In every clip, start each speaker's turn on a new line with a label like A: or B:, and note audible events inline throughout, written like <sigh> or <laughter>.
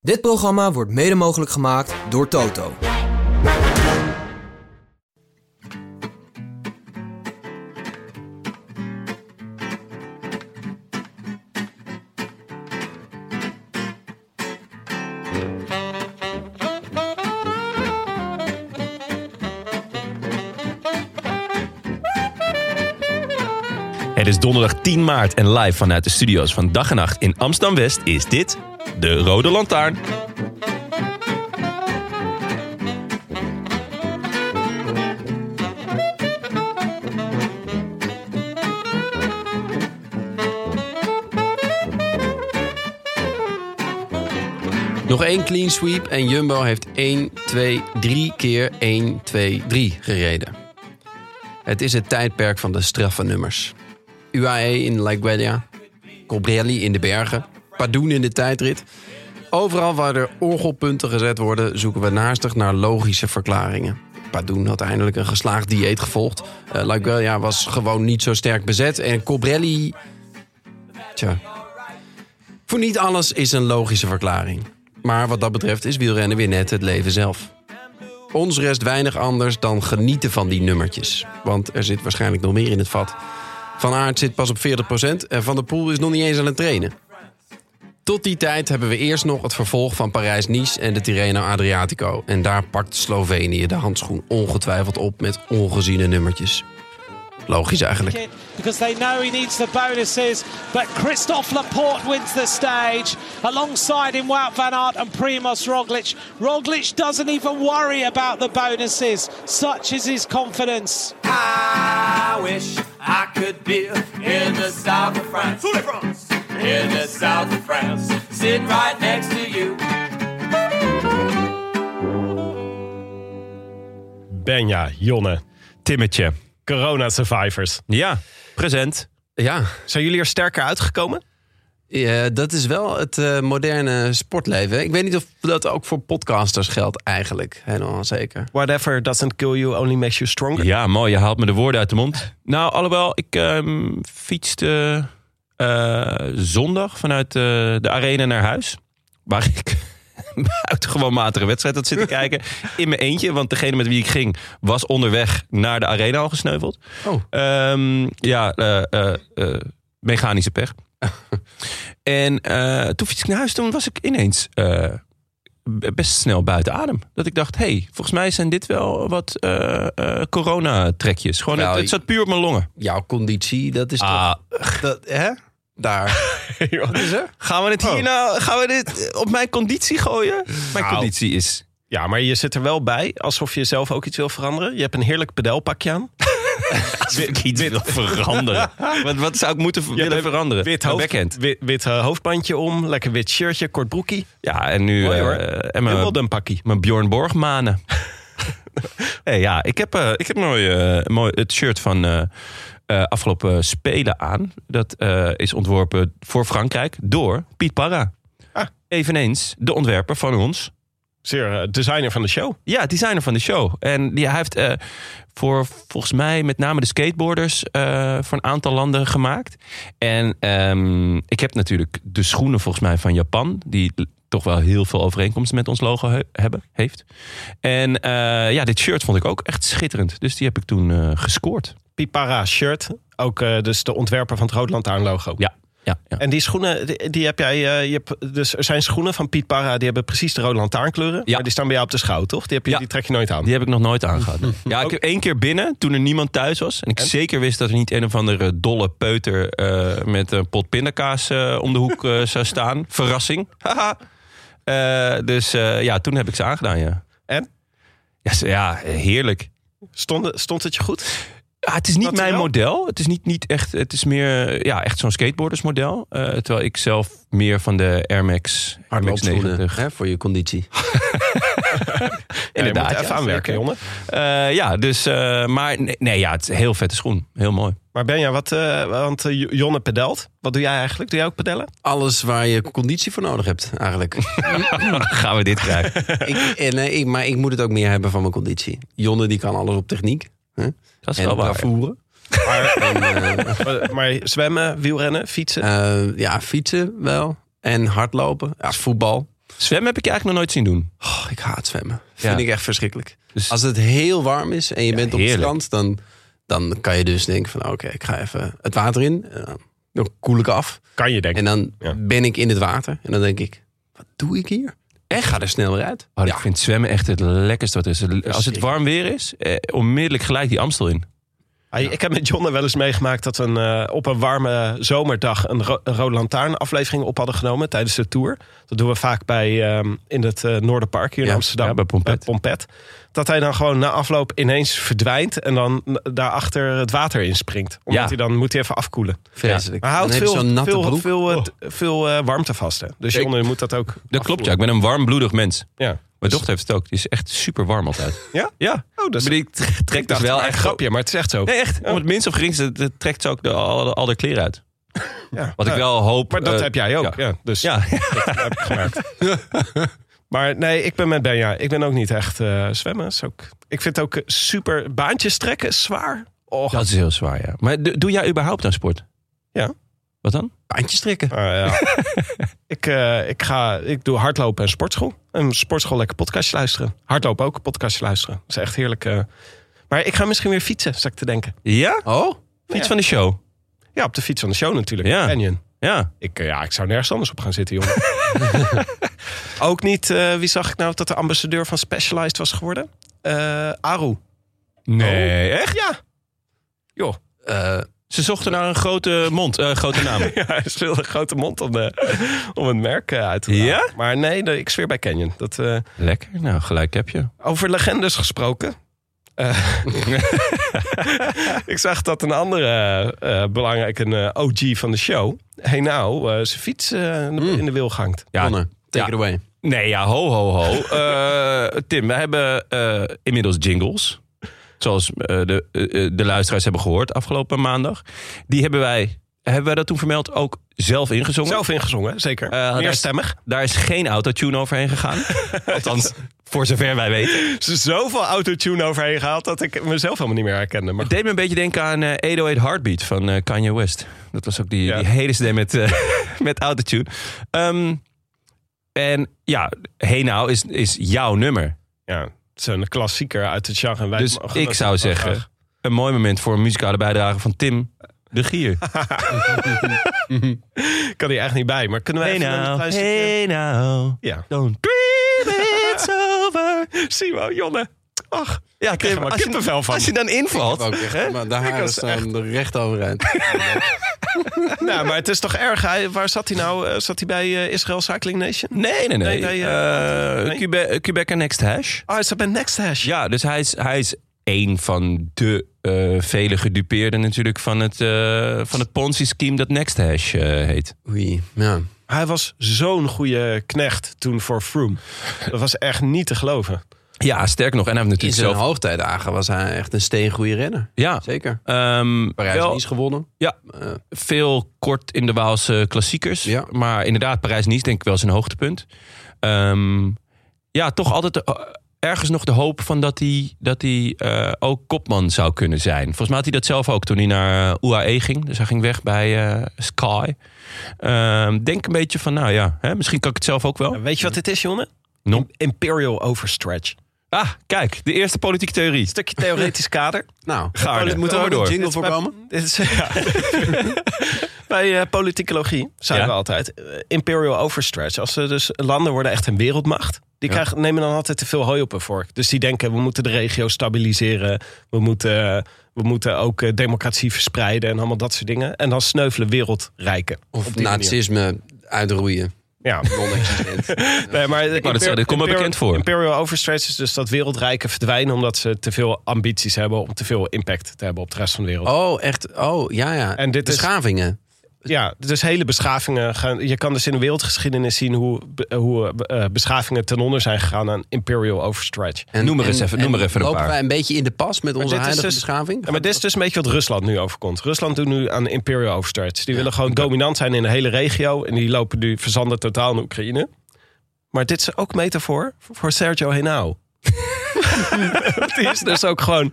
A: Dit programma wordt mede mogelijk gemaakt door Toto.
B: Het is donderdag 10 maart en live vanuit de studio's van Dag en Nacht in Amsterdam-West is dit de Rode Lantaarn.
C: Nog één clean sweep en Jumbo heeft 1, 2, 3 keer 1, 2, 3 gereden. Het is het tijdperk van de straffe nummers. UAE in La Guadia, Cobrelli in de bergen, Padoen in de tijdrit. Overal waar er orgelpunten gezet worden, zoeken we naastig naar logische verklaringen. Padoen had eindelijk een geslaagd dieet gevolgd. Eh, La Guadia was gewoon niet zo sterk bezet. En Cobrelli... Tja. Voor niet alles is een logische verklaring. Maar wat dat betreft is wielrennen weer net het leven zelf. Ons rest weinig anders dan genieten van die nummertjes. Want er zit waarschijnlijk nog meer in het vat. Van Aert zit pas op 40% en Van der Poel is nog niet eens aan het trainen. Tot die tijd hebben we eerst nog het vervolg van Parijs-Nice en de Tirreno Adriatico. En daar pakt Slovenië de handschoen ongetwijfeld op met ongeziene nummertjes. Logisch eigenlijk.
D: kid because they know he needs the bonuses. But Christophe Laporte wins the stage alongside him Wout van Aert and Primoz Roglic. Roglic doesn't even worry about the bonuses. Such is his confidence.
E: I wish I could be in the south of France. In the south of France. Sitting right next to you.
B: Benja, Jonne, Timmetje, Corona Survivors. Ja, present.
C: Ja,
B: Zijn jullie er sterker uitgekomen?
C: Ja, dat is wel het eh, moderne sportleven. Ik weet niet of dat ook voor podcasters geldt eigenlijk. Helemaal zeker.
F: Whatever doesn't kill you only makes you stronger.
B: Ja, mooi. Je haalt me de woorden uit de mond. Nou, alhoewel, ik ehm, fietste eh, zondag vanuit eh, de arena naar huis. Waar <laughs> ik een buitengewoon matige wedstrijd had
F: <laughs>
B: zitten kijken. In mijn eentje, want degene met wie ik ging was onderweg naar de arena al gesneuveld.
C: Oh.
B: Ehm, ja, eh, eh, eh, mechanische
F: <laughs>
B: pech. en eh, toen fietste ik naar huis. Toen was ik ineens... eh, b- best snel buiten adem. Dat ik dacht, hé, hey, volgens mij zijn dit wel wat eh eh, corona-trekjes. Gewoon,
C: Nou,
B: het, het zat puur op mijn longen.
C: Jouw conditie, dat is
B: Ah,
C: toch... Dat, hè? <laughs> Daar. Wat is er?
B: gaan we dit
F: Oh.
B: hier nou, gaan we dit op mijn conditie gooien? Mijn
F: Nou.
B: conditie is...
F: Ja, maar je zit er wel bij alsof je zelf ook iets wil veranderen. Je hebt een heerlijk pedelpakje
B: <laughs>
F: aan.
B: Als ik iets wil
F: <laughs>
B: veranderen. wat, wat zou ik moeten willen
F: hebt een
B: veranderen?
F: Wit,
B: Mijn
F: hoofd-
B: backhand.
F: wit, wit, eh, hoofdbandje om, lekker wit shirtje, kort broekie.
B: Ja, en nu...
F: Mooi,
B: eh,
F: hoor.
B: en
F: Mijn
B: mijn,
F: Wildenpakkie.
B: mijn Bjorn Borg manen. hey, ja, ik heb, eh, ik heb mooi, eh, mooi het shirt van eh, eh, afgelopen Spelen aan. Dat eh, is ontworpen voor Frankrijk door Piet Parra.
F: Ah.
B: Eveneens de ontwerper van ons.
F: Zeer eh, designer van de show.
B: Ja, designer van de show. En die, hij heeft eh, voor volgens mij met name de skateboarders eh, voor een aantal landen gemaakt. En ehm, ik heb natuurlijk de schoenen volgens mij van Japan. Die l- toch wel heel veel overeenkomsten met ons logo he- hebben, heeft. En eh, ja, dit shirt vond ik ook echt schitterend. Dus die heb ik toen eh, gescoord.
F: Pipara shirt. Ook eh, dus de ontwerper van het Rood Lantaarn logo.
B: Ja, ja, ja.
F: En die schoenen, die, die heb jij. eh, je hebt, dus er zijn schoenen van Piet Parra, die hebben precies de rode lantaarnkleuren.
B: Ja.
F: Maar die staan bij jou op de schouw, toch? Die, heb je,
B: Ja.
F: die trek je nooit aan.
B: Die heb ik nog nooit aangehad. <laughs> Ja, ik heb één keer binnen toen er niemand thuis was. En ik zeker wist dat er niet een of andere dolle peuter eh, met een pot pindakaas eh, om de hoek eh, zou staan. Verrassing. <laughs> Haha. Eh, dus eh, ja, toen heb ik ze aangedaan, ja.
F: En?
B: Ja, ze- ja heerlijk.
F: Stond, stond het je goed?
B: Ja, het is niet
F: Materiaal?
B: mijn model. Het is niet, niet echt. Het is meer eh, ja, echt zo'n skateboardersmodel. Eh, terwijl ik zelf meer van de Air Max, Air Max
C: Hardloopschoenen,
B: 90.
C: hè, voor je conditie.
B: inderdaad.
F: moet even
B: ja,
F: aanwerken,
B: zeker.
F: jongen.
B: Eh, ja, dus, eh, maar nee, nee, ja, het is een heel vette schoen. Heel mooi.
F: Maar Benja, wat, eh, want eh, Jo- Jonne pedelt. Wat doe jij
B: <laughs>
F: eigenlijk? Doe jij ook pedellen?
C: Alles waar je conditie voor nodig hebt, <laughs> eigenlijk.
B: Gaan we dit
F: <laughs>
B: krijgen?
C: ik, eh, nee, ik, maar ik moet het ook meer hebben van mijn conditie. Jonne die kan alles op techniek. Hè?
B: Dat is
C: en
B: wel waar.
C: bravoure.
F: Maar,
C: En, eh,
F: maar- maar zwemmen, wielrennen, fietsen.
C: eh, ja, fietsen wel. En hardlopen. Ja, voetbal.
B: Zwemmen heb ik je eigenlijk nog nooit zien doen.
C: Oh, ik haat zwemmen.
B: Ja.
C: Vind ik echt verschrikkelijk.
B: Dus-
C: Als het heel warm is en je bent op het
B: heerlijk.
C: strand, dan, dan kan je dus denken van oké, ik ga even het water in. Eh, Dan koel ik af.
F: Kan je denken.
C: En dan
F: Ja.
C: ben ik in het water. En dan denk ik, wat doe ik hier? Echt? Ga er snel weer uit.
B: Oh,
C: ja.
B: Ik vind zwemmen echt het lekkerste wat er is. Als het warm weer is, eh, onmiddellijk gelijk die Amstel in.
F: Ah, Ik heb met Jonne wel eens meegemaakt dat we een, eh, op een warme zomerdag een, ro een Rode Lantaarn aflevering op hadden genomen tijdens de tour. Dat doen we vaak bij, ehm, in het eh, Noorderpark hier in
C: Ja,
F: Amsterdam.
B: ja, bij Pompet.
F: Dat hij dan gewoon na afloop ineens verdwijnt en dan eh, daarachter het water inspringt. Omdat
B: Ja.
F: hij dan moet hij even afkoelen.
C: Vreselijk.
F: Maar hij houdt
C: dan heb je
F: veel,
C: zo'n natte
F: veel,
C: broek.
F: veel, eh, t- veel eh, warmte vast. Hè? Dus
B: Oh. Ik-
F: Jonne moet dat ook.
B: Dat klopt, ja. Ik ben een warmbloedig mens.
F: Ja.
B: Mijn dochter heeft het ook. Die is echt super warm altijd.
F: Dus- Ja?
B: Ja.
F: Oh, dat is
B: Maar die
F: ik
B: trekt dus
F: dacht
B: wel
F: maar
B: echt...
F: een grapje, maar het is echt zo.
B: Nee, echt. Om het minst of geringste dat trekt ze ook de, al, al de kleren uit.
F: Ja.
B: Wat ik
F: Nou,
B: wel hoop...
F: Maar dat
B: eh,
F: heb jij ook. Ja. dus
B: Ja,
F: dat heb ik gemerkt. <laughs> maar nee, ik ben met Benja. Ik ben ook niet echt eh, zwemmen. Is ook, ik vind ook eh, super baantjes trekken is zwaar. <laughs> Och.
B: dat is heel zwaar, ja. Maar do- doe jij überhaupt aan sport?
F: Ja.
B: Wat dan?
C: Bandjes trekken.
F: Maar eh, ja. ik, eh, ik, ga, ik doe hardlopen en sportschool. En sportschool lekker podcastje luisteren. Hardlopen ook, podcastje luisteren. Dat is echt heerlijk. eh. Maar ik ga misschien weer fietsen, zat ik te denken.
B: Ja?
C: Oh?
B: Fiets
F: Ja.
B: van de show.
F: Ja, op de fiets van de show natuurlijk.
B: Ja.
F: Canyon.
B: Ja.
F: Ik, eh, ja, ik zou nergens anders op gaan zitten, jongen. ook niet, eh, wie zag ik nou dat de ambassadeur van Specialized was geworden? Eh, Aru.
B: Nee, echt?
F: Oh. Ja.
C: Eh,
B: Ze zochten naar een grote mond, eh, grote naam.
F: ja, <laughs> hij speelde een grote mond om, de, om het merk eh, uit te halen.
B: Ja?
F: Maar nee, nee, ik zweer bij Canyon. Dat, eh,
B: Lekker, nou gelijk heb je.
F: over legendes gesproken. Eh, <laughs> ik zag dat een andere eh, belangrijke eh, OG van de show... Hey nou, eh, zijn fiets eh, in de- in de wil hangt.
B: Mm. Ja.
C: Jonne, take
B: Ja.
C: it away.
B: Nee, ja, ho, ho, ho.
F: <laughs>
B: Eh, Tim, we hebben eh, inmiddels jingles. Zoals eh, de, eh, eh, de luisteraars hebben gehoord afgelopen maandag. Die hebben wij, hebben wij dat toen vermeld, ook zelf ingezongen.
F: Zelf ingezongen, zeker.
B: Eh, daar
F: Meer
B: is-
F: stemmig.
B: Daar is geen autotune overheen
F: <laughs>
B: gegaan. Althans, voor zover wij weten.
F: Ze is zoveel autotune overheen gehaald dat ik mezelf helemaal niet meer herkende. Maar
B: Het deed me een beetje denken aan eh, 808 Heartbeat van eh, Kanye West. Dat was ook die,
F: Ja.
B: die hele CD met, eh <laughs> met autotune. Ehm, en ja, Hey Now is, is jouw nummer.
F: ja, het is een klassieker uit het genre. En Wij
B: Dus
F: mogen
B: ik
F: dat
B: zou
F: wel
B: zeggen,
F: graag.
B: een mooi moment voor een muzikale bijdrage van Tim de Gier.
F: Ik kan hier echt niet bij, maar <laughs> kunnen we even een klein stukje-
B: nou,
F: Ja.
B: don't dream
F: <laughs>
B: it's over.
F: Simo, Jonne. Ach,
B: Ja,
F: ik
B: Tim,
F: heb er
B: als je,
F: kippenvel van.
B: als je dan invalt.
C: Ook echt, maar de haren
F: was
C: staan er recht overeind.
F: nou, maar het is toch erg. Hij, waar zat hij nou? Eh, Zat hij bij eh, Israël Cycling Nation?
B: Nee, nee, nee.
F: Nee, nee,
B: Eh,
F: nee.
B: Quebec, Quebec en Next Hash.
F: Oh, hij zat bij Next Hash.
B: Ja, dus hij is, hij is een van de eh, vele gedupeerden natuurlijk van het, eh, van het Ponzi-scheme dat Next Hash eh, heet.
C: Oei, ja.
F: Hij was zo'n goede knecht toen voor Froome. Dat was echt niet te geloven.
B: Ja, sterk nog. En hij heeft
C: In
B: natuurlijk
C: zijn
B: zelf...
C: hoogtijdagen was hij echt een steengoeie renner.
B: Ja,
C: Zeker.
B: ehm, wel-
C: Parijs-Nice gewonnen.
B: Ja,
C: Eh,
B: veel kort in de Waalse klassiekers.
C: Ja.
B: Maar inderdaad, Parijs-Nice denk ik wel zijn hoogtepunt. Ehm, ja, toch altijd eh, ergens nog de hoop van dat hij, dat hij eh, ook kopman zou kunnen zijn. Volgens mij had hij dat zelf ook toen hij naar eh, UAE ging. Dus hij ging weg bij eh, Sky. Ehm, denk een beetje van, nou ja, hè, misschien kan ik het zelf ook wel.
F: Weet je wat dit is, Jonne?
B: No.
F: Imperial Overstretch.
B: Ah, kijk, de eerste politieke theorie.
F: Stukje theoretisch kader.
C: nou,
B: Gaarne.
C: het moet er
B: Oh,
C: maar door.
B: dit
C: jingle
F: Dit is
C: voor
F: bij-
C: komen.
F: dit is- <laughs> ja. bij eh, politicologie zijn
B: Ja.
F: we altijd eh, imperial overstretch. Als er dus landen worden echt een wereldmacht, die krijgen, nemen dan altijd te veel hooi op hun vork. Dus die denken we moeten de regio stabiliseren, we moeten, we moeten ook eh, democratie verspreiden en allemaal dat soort dingen. En dan sneuvelen wereldrijken.
C: Of
F: die manier.
C: nazisme
F: <laughs>
C: uitroeien.
F: Ja,
C: Non-existent.
F: nee, maar
B: wou net zeggen, dit komt me bekend voor.
F: Imperial overstretch is dus dat wereldrijken verdwijnen omdat ze te veel ambities hebben om te veel impact te hebben op de rest van de wereld.
C: oh, echt. Oh, ja, ja.
F: En dit
C: de
F: is-
C: schavingen.
F: ja, dus hele beschavingen gaan. Je kan dus in de wereldgeschiedenis zien hoe, be- hoe eh, beschavingen ten onder zijn gegaan aan Imperial Overstretch.
C: En,
B: Noem er eens
C: en-
B: even- noem er
C: en
B: even een
C: lopen
B: paar.
C: wij een beetje in de pas met onze
F: dit is
C: huidige
F: dus-
C: beschaving?
F: Ja, maar dit is dus een beetje wat Rusland nu overkomt. Rusland doet nu aan Imperial Overstretch. Die willen gewoon dominant zijn in de hele regio. En die lopen nu verzanden totaal in Oekraïne. Maar dit is ook metafoor voor Sergio Henao. <laughs> Die is dus ook gewoon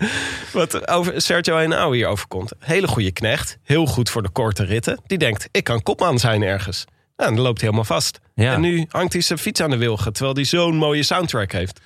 F: wat over Sergio Henao hier overkomt. Hele goede knecht. Heel goed voor de korte ritten. Die denkt, ik kan kopman zijn ergens. Nou, en dan loopt hij helemaal vast.
B: Ja.
F: En nu hangt hij zijn fiets aan de wilgen. Terwijl hij zo'n mooie soundtrack heeft.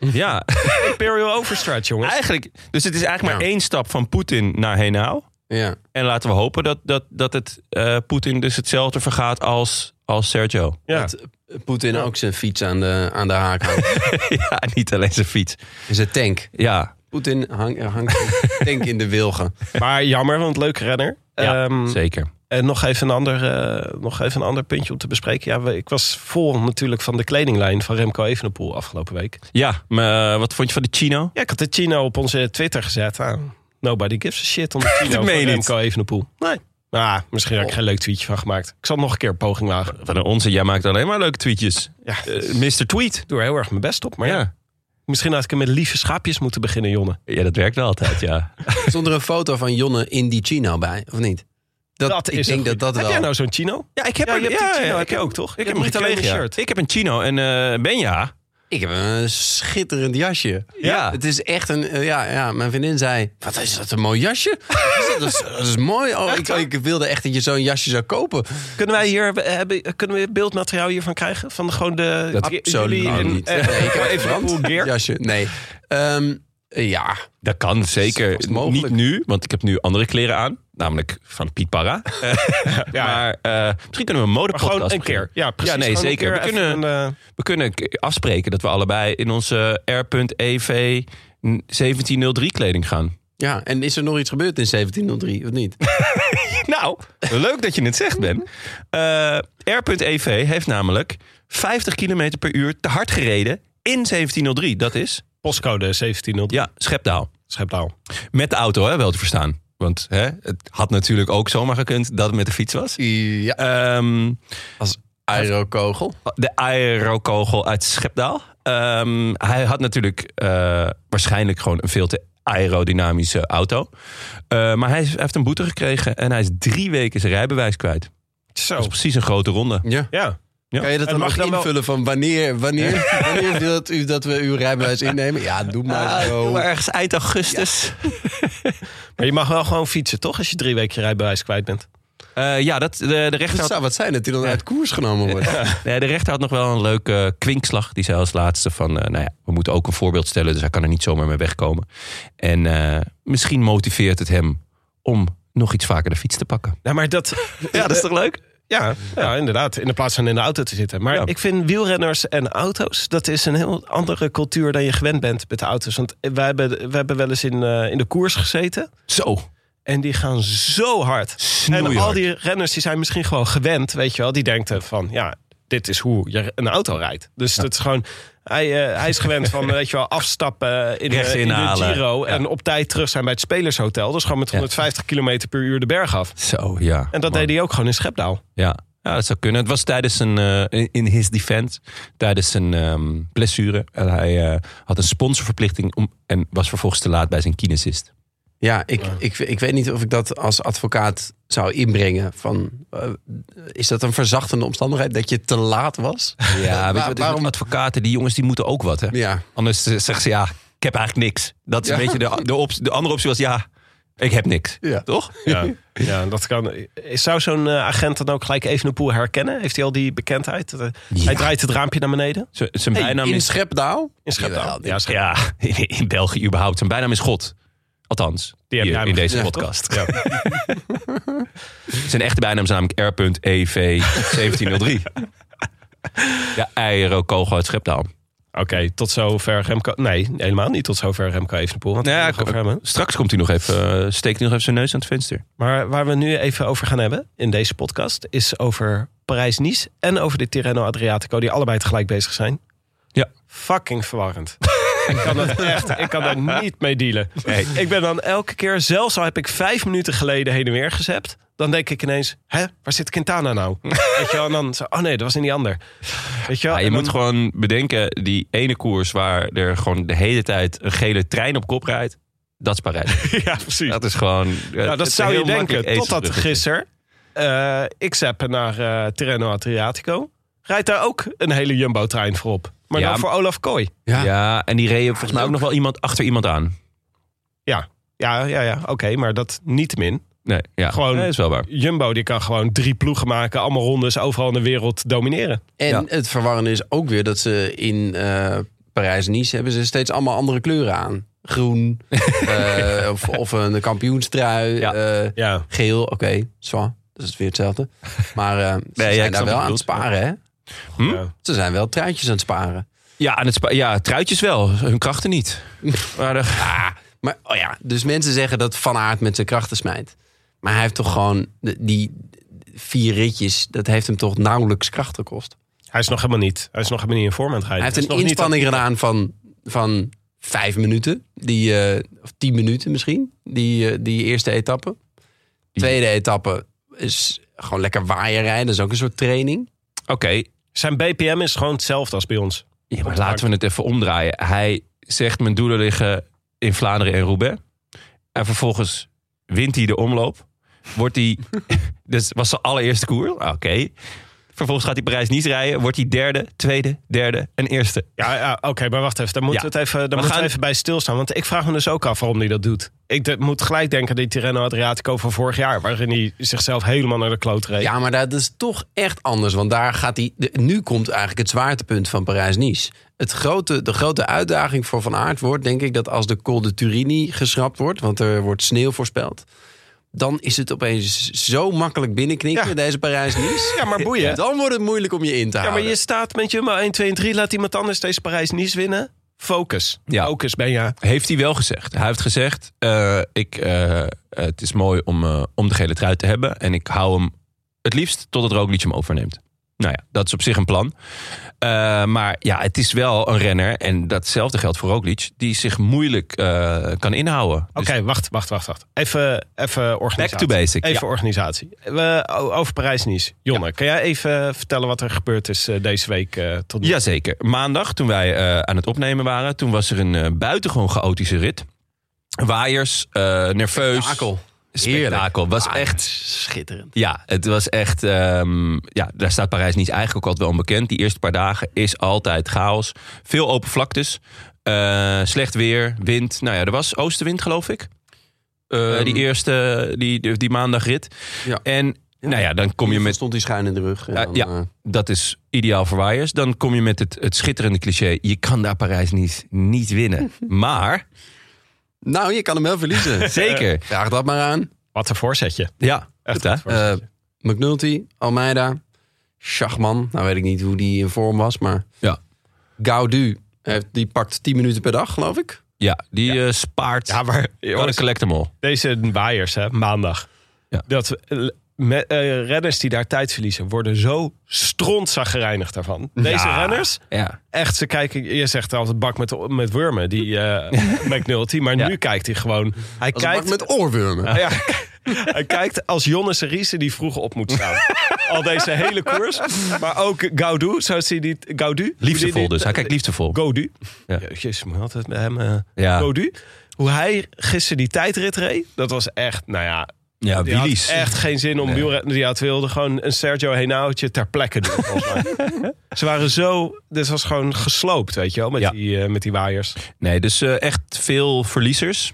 B: Ja,
F: Imperial Overstretch,
B: <laughs>
F: jongens.
B: eigenlijk. Dus het is eigenlijk
C: Ja.
B: maar één stap van Poetin naar Henao.
C: Ja.
B: En laten we hopen dat, dat, dat het eh, Poetin dus hetzelfde vergaat als, als Sergio.
F: Ja.
C: Dat eh, Poetin ook zijn fiets aan de, aan de haak
F: <laughs>
C: hangt.
B: <laughs> ja, niet alleen zijn fiets.
C: zijn tank.
B: Ja,
C: Poetin hang- hangt zijn tank in de wilgen.
F: Maar jammer, want leuk renner.
B: ja
F: Ehm,
B: zeker.
F: en nog even, een ander, eh, nog even een ander puntje om te bespreken. Ja, we- ik was vol natuurlijk van de kledinglijn van Remco Evenepoel afgelopen week.
B: Ja, maar, eh, wat vond je van de chino?
F: Ja, ik had de chino op onze Twitter gezet. Ah, nobody gives a
B: <laughs>
F: shit om de chino van
B: meen je niet. Oh.
F: Remco Evenepoel. Nee. Ah, misschien heb ik geen leuk tweetje van gemaakt. Ik zal nog een keer een poging wagen.
B: Van onze, jij maakt alleen maar leuke tweetjes.
F: Ja,
B: Eh,
F: ik
B: Mr. Tweet.
F: doe er heel erg mijn best op. Maar ja.
B: Ja.
F: misschien had ik hem met lieve schaapjes moeten beginnen, Jonne.
B: ja, dat werkt wel altijd,
F: <laughs>
B: ja.
C: Stond er een foto van Jonne in die chino bij, of niet? Dat, ik
F: een
C: denk dat
F: goeie.
C: dat
F: Heb jij
C: wel...
F: nou zo'n chino?
B: Ja, ik heb
F: Ja,
B: een,
F: je hebt die
B: ja,
F: chino,
B: ja,
F: heb je ook, toch? Je
B: Ik heb
F: hebt
B: niet
F: een
B: alleen
F: kleine
B: shirt. Ik
F: shirt.
B: heb een chino en eh, Benja.
C: Ik heb een schitterend jasje.
B: Ja.
C: Het is echt een... eh, ja, ja, mijn vriendin zei... Wat is dat, een mooi
F: <laughs>
C: jasje? dat, is, dat is mooi. Oh, ik, ik wilde echt dat je zo'n jasje zou kopen.
F: Kunnen wij hier eh, hebben, kunnen we beeldmateriaal hiervan krijgen? Van gewoon de.
C: Dat
F: j-
C: zo
F: jullie in-
C: niet.
F: eh,
C: Nee, ik heb
F: <laughs> even
C: een
F: een gear.
C: jasje. Nee. Ehm, ja,
B: Dat kan zeker.
C: vast mogelijk.
B: Niet nu, want ik heb nu andere kleren aan. Namelijk van Piet
F: <laughs>
B: Parra. <laughs> Maar eh, misschien kunnen we een
F: Maar
B: modepodcast
F: gewoon een
B: beginnen.
F: keer. Ja, precies.
B: Ja, nee,
F: Gewoon een
B: zeker.
F: keer
B: We
F: even
B: kunnen-
F: een, eh,
B: We kunnen k- afspreken dat we allebei in onze R.EV 1703 kleding gaan.
C: Ja, en is er nog iets gebeurd in 1703, of
F: <laughs>
C: niet?
B: <laughs> Nou, leuk dat je het zegt, Ben. Eh, R.EV heeft namelijk 50 km per uur te hard gereden in 1703. Dat is,
F: postcode 1703.
B: ja, Schepdaal.
F: Schepdaal.
B: Met de auto, hè, wel te verstaan. Want hè, het had natuurlijk ook zomaar gekund dat het met de fiets was.
C: Ja,
B: Ehm,
C: als aerokogel.
B: de aerokogel uit Schepdaal. Ehm, hij had natuurlijk eh, waarschijnlijk gewoon een veel te aerodynamische auto. Eh, maar hij is- hij heeft een boete gekregen en hij is drie weken zijn rijbewijs kwijt.
F: Zo.
B: Dat is precies een grote ronde.
C: Ja.
F: Ja.
C: Kan je dat
F: En
C: dan
F: mag
C: ook
F: dan wel-
C: invullen van wanneer,
F: <laughs>
C: wanneer, wanneer wilt u dat we uw rijbewijs innemen? Ja, doe maar zo.
B: Maar ergens eind augustus.
F: Maar je mag wel gewoon fietsen, toch? Als je drie weken je rijbewijs kwijt bent.
B: Ja, Eh, ja dat, de, de, rechter
C: Dat
B: had,
C: zou wat zijn dat hij dan uit koers genomen wordt.
B: nee, de rechter had nog wel een leuke eh, kwinkslag. Die zei als laatste van, eh, nou ja, we moeten ook een voorbeeld stellen. Dus hij kan er niet zomaar mee wegkomen. En eh, misschien motiveert het hem om nog iets vaker de fiets te pakken.
F: Nou, maar dat.
B: <laughs> Ja, dat is toch leuk?
F: Ja, ja, inderdaad. In de plaats van in de auto te zitten. Maar
B: Ja.
F: ik vind wielrenners en auto's, dat is een heel andere cultuur dan je gewend bent met de auto's. Want wij hebben, wij hebben wel eens in, eh, in de koers gezeten.
B: Zo.
F: En die gaan zo hard. En al
B: Snoeihard.
F: die renners die zijn misschien gewoon gewend, weet je wel. Die denken van, ja, dit is hoe je een auto rijdt. Dus dat is gewoon... Hij, eh, hij is gewend
B: <laughs>
F: van, weet je wel, afstappen in,
B: Rechts
F: de, in de
B: inhalen.
F: Giro.
B: Ja.
F: En op tijd terug zijn bij het Spelershotel. Dus gewoon met 150 km per uur de berg af.
B: Zo, ja.
F: En dat
B: Man.
F: deed hij ook gewoon in
B: <laughs>
F: Schepdaal.
B: Ja. ja, dat zou kunnen. Het was tijdens een, eh, in his defense, tijdens een ehm, blessure. En hij eh, had een sponsorverplichting om, en was vervolgens te laat bij zijn kinesist.
C: Ja, ik, ik, ik weet niet of ik dat als advocaat zou inbrengen. Van, eh, is dat een verzachtende omstandigheid dat je te laat
B: <laughs>
C: was?
B: Ja, weet je
C: Waar-
B: wat,
C: waarom-
B: waarom advocaten, die jongens, die moeten ook wat. Hè?
C: Ja,
B: Anders eh, zeggen ze, ja, ik heb eigenlijk niks. Dat is
C: Ja.
B: een beetje de, de, op, de andere optie was, ja, ik heb niks.
C: Ja.
B: Toch?
F: Ja, ja dat kan. Zou zo'n eh, agent dan ook gelijk even een poel herkennen? Heeft hij al die bekendheid? Dat, eh, Hij draait het raampje naar beneden.
B: Z- Zijn bijnaam
C: in
B: is...
C: Schepdaal.
F: In Schepdaal.
C: Jawel,
F: ja, Schepdaal.
B: Ja, <laughs> in, in België überhaupt. Zijn bijnaam is God. Althans,
F: Die heb
B: hier,
F: jij
B: in
F: me
B: deze
F: gezegd,
B: podcast.
F: toch?
B: Zijn echte bijnaam is namelijk
F: <laughs>
B: R.EV1703. Ja, aerokogel uit Schepdaal.
F: Oké, tot zover Remco. Nee, helemaal niet tot zover Remco Evenepoel. Want
B: Nou ja,
F: we gaan
B: ik-
F: over hebben.
B: Straks komt hij nog even, eh, steekt hij nog even zijn neus aan het venster.
F: Maar waar we nu even over gaan hebben in deze podcast... is over Parijs-Nice en over de Tirreno Adriatico... die allebei tegelijk bezig zijn.
B: Ja.
F: Fucking verwarrend. <laughs> Ik kan dat echt, ik kan daar niet mee dealen. Ik ben dan elke keer, zelfs al heb ik vijf minuten geleden heen en weer gezept, dan denk ik ineens, hè, waar zit
B: <laughs>
F: Quintana nou? Weet je wel, en dan, zo, oh nee, dat was in die ander. Weet je wel,
B: Ja, je
F: en dan-
B: moet gewoon bedenken, die ene koers waar er gewoon de hele tijd een gele trein op kop rijdt, dat is Parijs.
F: <laughs> ja, precies.
B: Dat is gewoon...
F: Nou, dat zou je denken, totdat
B: dus.
F: gisteren. eh, ik zap naar eh Tirreno Adriatico. Rijdt daar ook een hele Jumbo-trein voor op. Maar
B: Ja,
F: dan voor Olaf Kooi.
B: Ja. en die reden volgens mij ook nog wel iemand achter iemand aan.
F: Ja, ja, ja, ja oké, maar dat niet min.
B: Nee, ja.
F: Gewoon-
B: Nee, dat is wel waar.
F: Jumbo die kan gewoon drie ploegen maken, allemaal rondes, Oh, overal in de wereld domineren.
C: En
B: Ja.
C: het verwarrende is ook weer dat ze in eh Parijs-Nice hebben ze steeds allemaal andere kleuren aan.
B: <laughs>
C: Groen, eh, of, of een kampioenstrui,
B: Ja.
C: eh,
F: Ja,
C: geel. Oké, zo, dat is weer hetzelfde. Maar eh, ze
B: ja, ik snap
C: zijn
B: wat
C: daar
B: je
C: wel aan
B: bedoelt.
C: het sparen, hè?
B: Hm?
F: Ja.
C: Ze zijn wel truitjes aan het sparen.
B: Ja, en het spa- ja, truitjes wel, hun krachten niet. Maar de-
C: Maar oh ja, dus mensen zeggen dat Van Aert met zijn krachten smijt. Maar hij heeft toch gewoon de- die vier ritjes, dat heeft hem toch nauwelijks kracht gekost.
F: hij is nog helemaal niet, hij is nog helemaal niet in vorm aan het
C: Hij
F: rijden.
C: heeft
F: Het is
C: een
F: nog niet
C: inspanning gedaan van, van vijf minuten, die, eh, of tien minuten misschien, die, eh, die eerste etappe. Tweede etappe is gewoon lekker waaien rijden, dat is ook een soort training.
B: Oké,
F: Zijn BPM is gewoon hetzelfde als bij ons.
B: ja, maar laten we het even omdraaien. Hij zegt mijn doelen liggen in Vlaanderen en Roubaix. En vervolgens wint hij de omloop. Wordt hij... <laughs> dus was zijn allereerste koer. Oké. Vervolgens gaat hij Parijs-Nice rijden. Wordt hij derde, tweede, derde en eerste.
F: Ja, ja oké, maar wacht even. Daar moeten
B: Ja.
F: we het even, daar moeten
B: gaan-
F: we even bij stilstaan. Want ik vraag me dus ook af waarom hij dat doet. Ik de- moet gelijk denken aan die Tirreno Adriatico van vorig jaar. Waarin hij zichzelf helemaal naar de kloot reed.
C: Ja, maar dat is toch echt anders. Want daar gaat hij. de- Nu komt eigenlijk het zwaartepunt van Parijs-Nice. Het grote, de grote uitdaging voor Van Aert wordt, denk ik, dat als de Col de Turini geschrapt wordt, want er wordt sneeuw voorspeld. Dan is het opeens zo makkelijk binnenknikken,
F: Ja.
C: deze Parijs-Nice.
F: Ja, maar
C: <laughs>
F: boeien.
C: Dan wordt het moeilijk om je in te
F: Ja, maar
C: houden.
F: je staat met Jumbo 1, 2 en 3. Laat iemand anders deze Parijs-Nice winnen. Focus.
B: Ja.
F: Focus ben je.
B: Heeft hij wel gezegd. Hij heeft gezegd, eh, ik, eh, eh, het is mooi om, eh, om de gele trui te hebben. En ik hou hem het liefst totdat Roglic hem overneemt. Nou ja, dat is op zich een plan. Eh, maar ja, het is wel een renner. En datzelfde geldt voor Roglic. Die zich moeilijk eh, kan inhouden. Dus
F: Oké, wacht, wacht, wacht, wacht. Even, even
B: back
F: organisatie.
B: to basic.
F: Even
B: Ja.
F: organisatie. We, o- over Parijs-Nice. Jonne, kan jij even vertellen wat er gebeurd is eh, deze week eh, tot nu toe?
B: Jazeker. Maandag, toen wij eh, aan het opnemen waren... toen was er een eh, buitengewoon chaotische rit. Waaiers, eh, nerveus.
C: Spektakel.
B: Spektakel. Was
C: Ah,
B: echt
C: schitterend.
B: Ja, het was echt. ehm, ja, daar staat Parijs niet eigenlijk ook altijd wel onbekend. Die eerste paar dagen is altijd chaos. Veel open vlaktes. eh, slecht weer, wind. Nou ja, er was oostenwind, geloof ik. Eh, die eerste, die, die, die maandagrit.
C: Ehm. Ja.
B: En nou ja, dan kom je met.
C: Stond hij schuin in de rug. en
B: Ja,
C: dan,
B: ja.
C: eh,
B: Dat is ideaal voor waaiers. Dan kom je met het, het schitterende cliché. Je kan daar Parijs niet, niet
F: <laughs>
B: winnen. Maar,
C: nou, je kan hem wel verliezen. Eh,
B: zeker.
C: Vraag dat maar aan.
F: Wat een voorzetje.
B: Ja,
F: Echt
B: goed, hè?
F: goed voorzetje.
C: Eh, McNulty, Almeida, Schachman. Nou weet ik niet hoe die in vorm was, maar...
B: Ja.
C: Gaudu, heeft- eh, die pakt 10 minuten per dag, geloof ik.
B: Ja, die eh, spaart.
F: Ja, maar
B: wat een
F: jongens,
B: collectible.
F: deze waaiers, hè, maandag.
B: Ja.
F: Dat eh, me- eh, renners die daar tijd verliezen, worden zo gereinigd daarvan. Deze renners,
B: Ja.
F: echt, ze kijken... Je zegt altijd bak met, met wormen, die eh,
B: <laughs>
F: McNulty. Maar
B: Ja.
F: nu kijkt hij gewoon... Hij
C: Als
F: kijkt
C: een bak met oorwurmen.
F: Ah, Ja. Hij kijkt als Jonne Seriese die vroeger op moet staan. Al deze hele koers. Maar ook Gaudu, zoals hij die... Gaudu?
B: Liefdevol
F: Die- die-
B: dus. Hij kijkt liefdevol.
F: Gaudu.
B: Ja.
F: Jezus, moet altijd met hem... eh,
B: Ja.
F: Gaudu. Hoe hij gisteren die tijdrit reed, dat was echt, nou ja...
B: Ja,
F: Die had
B: Willy's.
F: echt geen zin om wielrennen. Die had wilde gewoon een Sergio Henautje ter plekke doen. volgens mij.
B: <laughs>
F: Ze waren zo... Dit was gewoon gesloopt, weet je wel, met,
B: Ja.
F: die, eh, met die waaiers.
B: Nee, dus eh, echt veel verliezers.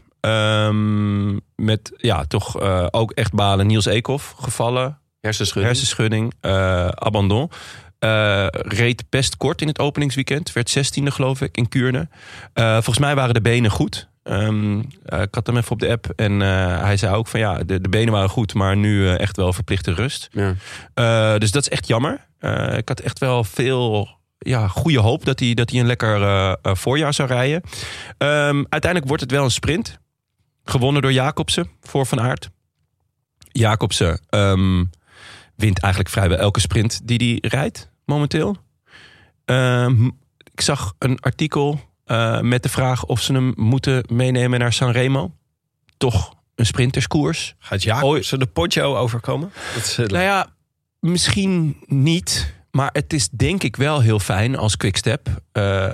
B: Ehm, met ja, toch eh, ook echt balen. Niels Eekhoff gevallen.
C: Hersenschudding.
B: Hersenschudding. eh, abandon. Eh, reed best kort in het openingsweekend. Werd 16e, geloof ik, in Kuurne. Eh, volgens mij waren de benen goed. Ehm, eh, ik had hem even op de app. En eh, hij zei ook van ja, de, de benen waren goed. Maar nu eh, echt wel verplichte rust.
C: Ja.
B: Eh, dus dat is echt jammer. Eh, ik had echt wel veel ja, goede hoop dat hij, dat hij een lekker eh, eh, voorjaar zou rijden. Ehm, uiteindelijk wordt het wel een sprint. Gewonnen door Jacobsen voor Van Aert. Jacobsen ehm, wint eigenlijk vrijwel elke sprint die hij rijdt momenteel. Ehm, ik zag een artikel eh, met de vraag of ze hem moeten meenemen naar Sanremo. Toch een sprinterskoers.
F: Gaat Jacobsen de Poggio overkomen? Dat is, eh,
B: Nou ja, misschien niet. Maar het is denk ik wel heel fijn als Quickstep eh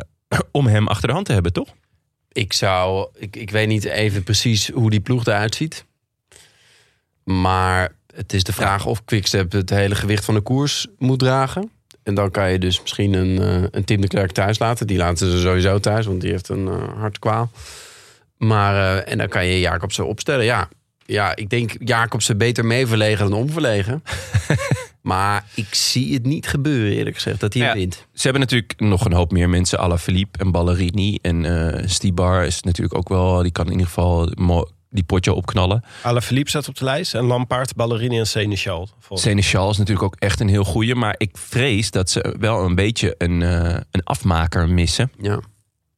B: om hem achter de hand te hebben, toch?
C: Ik zou, ik, ik weet niet even precies hoe die ploeg eruit ziet. Maar het is de vraag of Quickstep het hele gewicht van de koers moet dragen. En dan kan je dus misschien een, eh, een Tim de Klerk thuis laten. Die laten ze sowieso thuis, want die heeft een eh, hartkwaal. Maar, eh, en dan kan je Jacobsen opstellen. Ja, ja ik denk Jacobsen beter mee verlegen dan omverlegen. maar ik zie het niet gebeuren, eerlijk gezegd, dat hij hem
B: Ja.
C: wint.
B: Ze hebben natuurlijk nog een hoop meer mensen. Alla Philippe en Ballerini. En eh, Stibar is natuurlijk ook wel... Die kan in ieder geval mo- die potje opknallen.
F: Alaphilippe staat op de lijst. En Lampaard, Ballerini en Seneschal. volgens-
B: Seneschal is natuurlijk ook echt een heel goeie. Maar ik vrees dat ze wel een beetje een, eh, een afmaker missen.
C: Ja.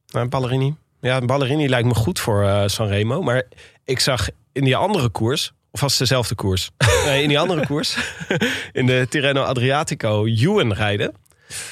F: Nou, Ballerini. Ja, Ballerini lijkt me goed voor eh Sanremo. Maar ik zag in die andere koers, of was het dezelfde koers? <laughs> nee, in die andere koers, <laughs> in de Tirreno Adriatico, Ewan rijden.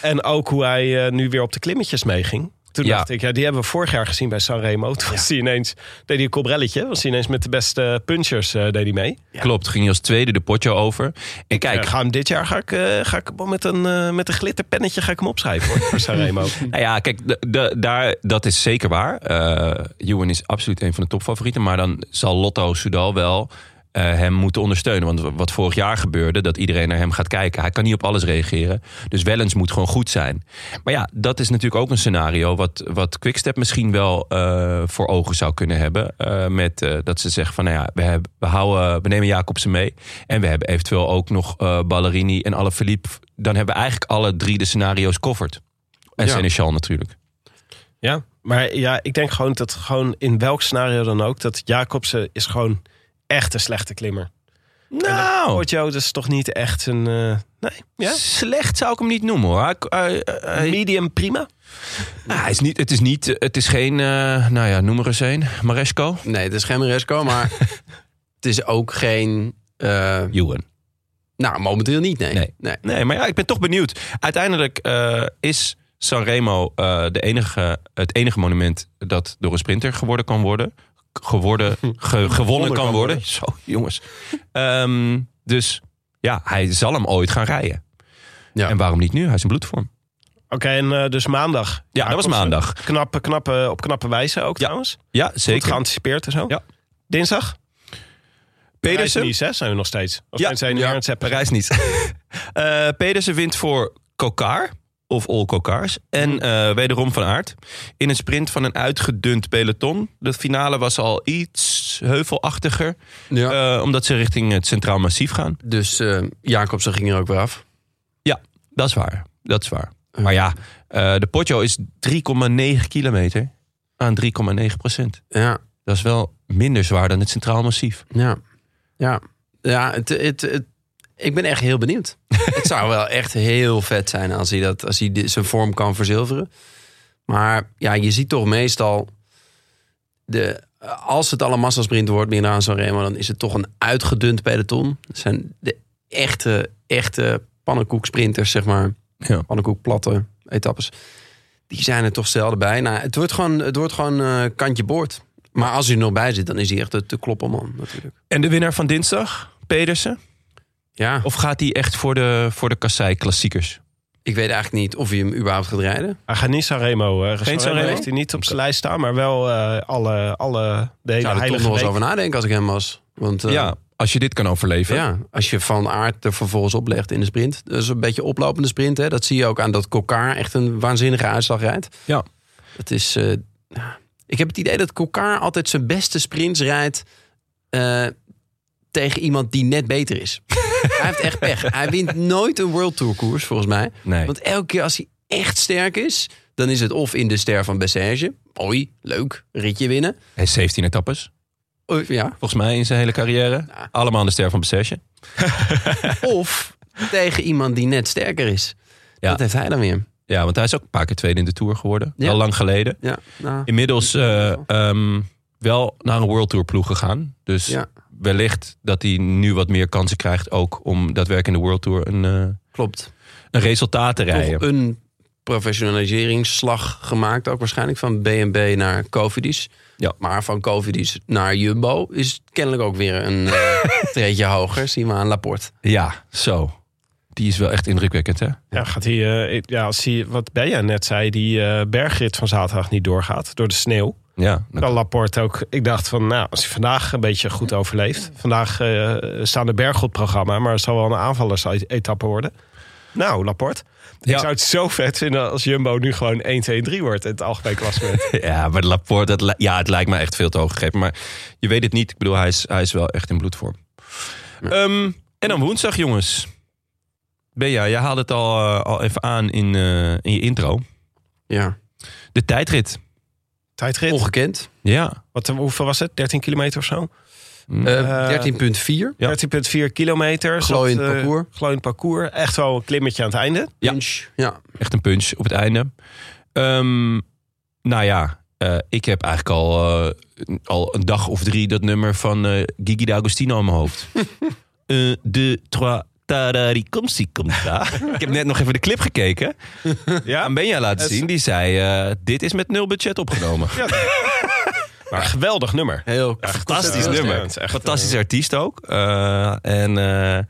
F: En ook hoe hij eh, nu weer op de klimmetjes meeging. Toen
B: Ja.
F: dacht ik, ja, die hebben we vorig jaar gezien bij Sanremo. Toen was hij ineens, deed hij een kobrelletje. Was hij ineens met de beste punchers eh, deed hij mee.
B: Klopt, ging hij als tweede de potje over. En
F: Ik eh,
B: kijk,
F: ga hem dit jaar ga ik, eh, ga ik hem wel met, een, eh, met een glitterpennetje ga ik hem opschrijven hoor, voor Sanremo.
B: Nou ja, kijk, de- de- daar, dat is zeker waar. Eh Ewan is absoluut een van de topfavorieten. Maar dan zal Lotto Soudal wel eh, hem moeten ondersteunen. Want wat vorig jaar gebeurde, dat iedereen naar hem gaat kijken. Hij kan niet op alles reageren. Dus Wellens moet gewoon goed zijn. Maar ja, dat is natuurlijk ook een scenario... wat, wat Quickstep misschien wel eh, voor ogen zou kunnen hebben. Eh, met eh, dat ze zeggen van, nou ja, we, hebben, we, houden, we nemen Jacobsen mee. En we hebben eventueel ook nog eh, Ballerini en Alaphilippe. Dan hebben we eigenlijk alle drie de scenario's covered. En
C: Ja.
B: Seneschal natuurlijk.
F: Ja, maar ja, ik denk gewoon dat gewoon in welk scenario dan ook... dat Jacobsen is gewoon echt een slechte klimmer.
B: Nou,
F: Porto, dat is toch niet echt een... eh, nee, ja.
B: slecht zou ik hem niet noemen hoor. Hij, hij- hij-
F: Medium prima.
B: Ah, hij is niet, het, is niet, het is geen, eh, nou ja, noem er eens een. Maresco?
C: Nee, het is geen Maresco, maar het is ook geen... eh,
B: Ewan.
C: Nou, momenteel niet, nee.
B: Nee. Nee, maar ja, ik ben toch benieuwd. Uiteindelijk eh, is Sanremo eh, de enige, het enige monument dat door een sprinter geworden kan worden. K- <laughs> Geworden, ge- gewonnen kan worden. Zo, jongens. Ehm, dus ja, hij zal hem ooit gaan rijden.
C: Ja.
B: En waarom niet nu? Hij is in bloedvorm.
F: Oké, en eh, dus maandag.
B: Ja, dat was
F: Jacobsen.
B: maandag.
F: Knappe, knappe, op knappe wijze ook trouwens.
B: Ja,
F: Goed
B: zeker.
F: geanticipeerd en zo.
B: Ja.
F: Dinsdag?
B: Pedersen.
F: Niet, hè, zijn we nog steeds. Of
B: Ja,
F: ja, zijn
B: ja.
F: ja. hebben.
B: Parijs niet. <laughs> Eh, Pedersen wint voor Kokaar. Of All Kokaars. En eh, wederom van aard. In een sprint van een uitgedund peloton. De finale was al iets heuvelachtiger.
C: Ja.
B: eh, omdat ze richting het Centraal Massief gaan.
C: Dus eh Jacobsen ging er ook weer af.
B: Dat is waar. Dat is waar. Maar ja, eh, de Poggio is 3,9 kilometer aan 3,9 procent.
C: Ja,
B: Dat is wel minder zwaar dan het Centraal Massief.
C: ja, ja. Ja, het, het, het- ik ben echt heel benieuwd. het zou wel echt heel vet zijn als hij, dat, als hij dit- zijn vorm kan verzilveren. Maar ja, je ziet toch meestal... De, als het al een massasprint wordt, meer aan Sanremo... dan is het toch een uitgedund peloton. Dat zijn de echte, echte pannenkoeksprinters, zeg maar.
B: Ja.
C: Pannenkoekplatte etappes. Die zijn er toch zelden bij. Nou, het wordt gewoon, het wordt gewoon eh, kantje boord. Maar als hij er nog bij zit, dan is hij echt de, de klopperman natuurlijk.
B: En de winnaar van dinsdag, Pedersen?
C: Ja,
B: Of gaat hij echt voor de, voor de Kassei Klassiekers?
C: ik weet eigenlijk niet of hij hem überhaupt gaat rijden.
F: Hij gaat niet Sanremo. eh, Sanremo
B: Sanremo?
F: heeft hij niet op zijn lijst staan, maar wel eh, alle, alle, de
C: Ik zou
F: hele
C: er toch
F: heilige
C: nog eens
F: week.
C: over nadenken als ik hem was. Want eh,
B: ja, als je dit kan overleven.
C: ja, als je Van Aert er vervolgens oplegt in de sprint. Dat is een beetje oplopende sprint. Hè? Dat zie je ook aan dat Kokar echt een waanzinnige uitslag rijdt.
B: Ja.
C: Het is, eh, ja. ik heb het idee dat Kokar altijd zijn beste sprints rijdt... eh, tegen iemand die net
B: <laughs>
C: beter is. hij heeft echt pech. Hij wint nooit een World Tour koers, volgens mij.
B: Nee.
C: Want elke keer als hij echt sterk is... dan is het of in de ster van Bessage. Oei, leuk, ritje winnen.
B: Hij heeft 17 etappes,
C: Oei, ja.
B: volgens mij, in zijn hele carrière. Allemaal aan de ster van Bessage.
C: Of tegen iemand die net sterker is.
B: Ja.
C: Dat heeft hij dan weer.
B: Ja, want hij is ook een paar keer tweede in de Tour geworden.
C: Ja.
B: Al lang geleden.
C: Ja, nou,
B: Inmiddels eh, ehm, wel naar een World Tour ploeg gegaan. Dus
C: Ja.
B: wellicht dat hij nu wat meer kansen krijgt... ook om daadwerkelijk in de World Tour een, eh,
C: klopt.
B: een resultaat te
C: Toch eh,
B: rijden.
C: een professionaliseringsslag gemaakt. Ook waarschijnlijk van BNB naar Covidis.
B: Ja.
C: Maar van Covidis naar Jumbo is kennelijk ook weer
B: <laughs>
C: een eh, treetje hoger. Zien we aan Laporte.
B: Ja, zo. Die is wel echt indrukwekkend, hè?
F: Ja, gaat die, eh, ja, als die, wat Benja net zei, die eh bergrit van zaterdag niet doorgaat door de sneeuw.
B: Ja.
F: Dan Laporte ook. Ik dacht van, nou, als hij vandaag een beetje goed overleeft. Vandaag eh, staan de bergen op het programma, maar het zal wel een aanvallers-etappe worden. Nou, Laporte.
B: Ja.
F: Ik zou het zo vet vinden als Jumbo nu gewoon 1, 2, 3 wordt in het algemeen
B: <laughs>
F: klassement.
B: Ja, maar Laporte, dat, li- ja, het lijkt me echt veel te hoog gegeven. Maar je weet het niet. Ik bedoel, hij is, hij is wel echt in bloedvorm. Ehm, en dan woensdag, jongens. Bea, jij haalde het al, eh, al even aan in, eh, in je intro.
C: Ja.
B: De tijdrit.
F: Tijdrit.
C: Ongekend.
B: Ja.
F: Wat, hoeveel was het? 13 kilometer of zo?
C: Eh,
B: Hm.
F: Eh,
C: 13,4.
B: Ja.
F: 13,4 kilometer.
C: Glooiend
F: Zat, eh,
C: parcours.
F: Glooiend parcours. Echt wel een klimmetje aan het einde.
B: Ja.
C: Inch. Ja.
B: Echt een punch op het einde. Ehm, nou ja, eh, ik heb eigenlijk al, eh, al een dag of drie dat nummer van eh, Gigi D'Agostino in mijn hoofd. Eh, de trois tararicomsi Ik heb net nog even de clip gekeken.
F: Ja,
B: Aan Benja laten
F: Het-
B: zien. Die zei, eh, dit is met nul budget opgenomen. <laughs>
F: maar geweldig nummer.
C: Heel
B: Fantastisch
F: Ja,
B: nummer.
F: het is echt,
B: Fantastisch artiest ook. Eh, en eh,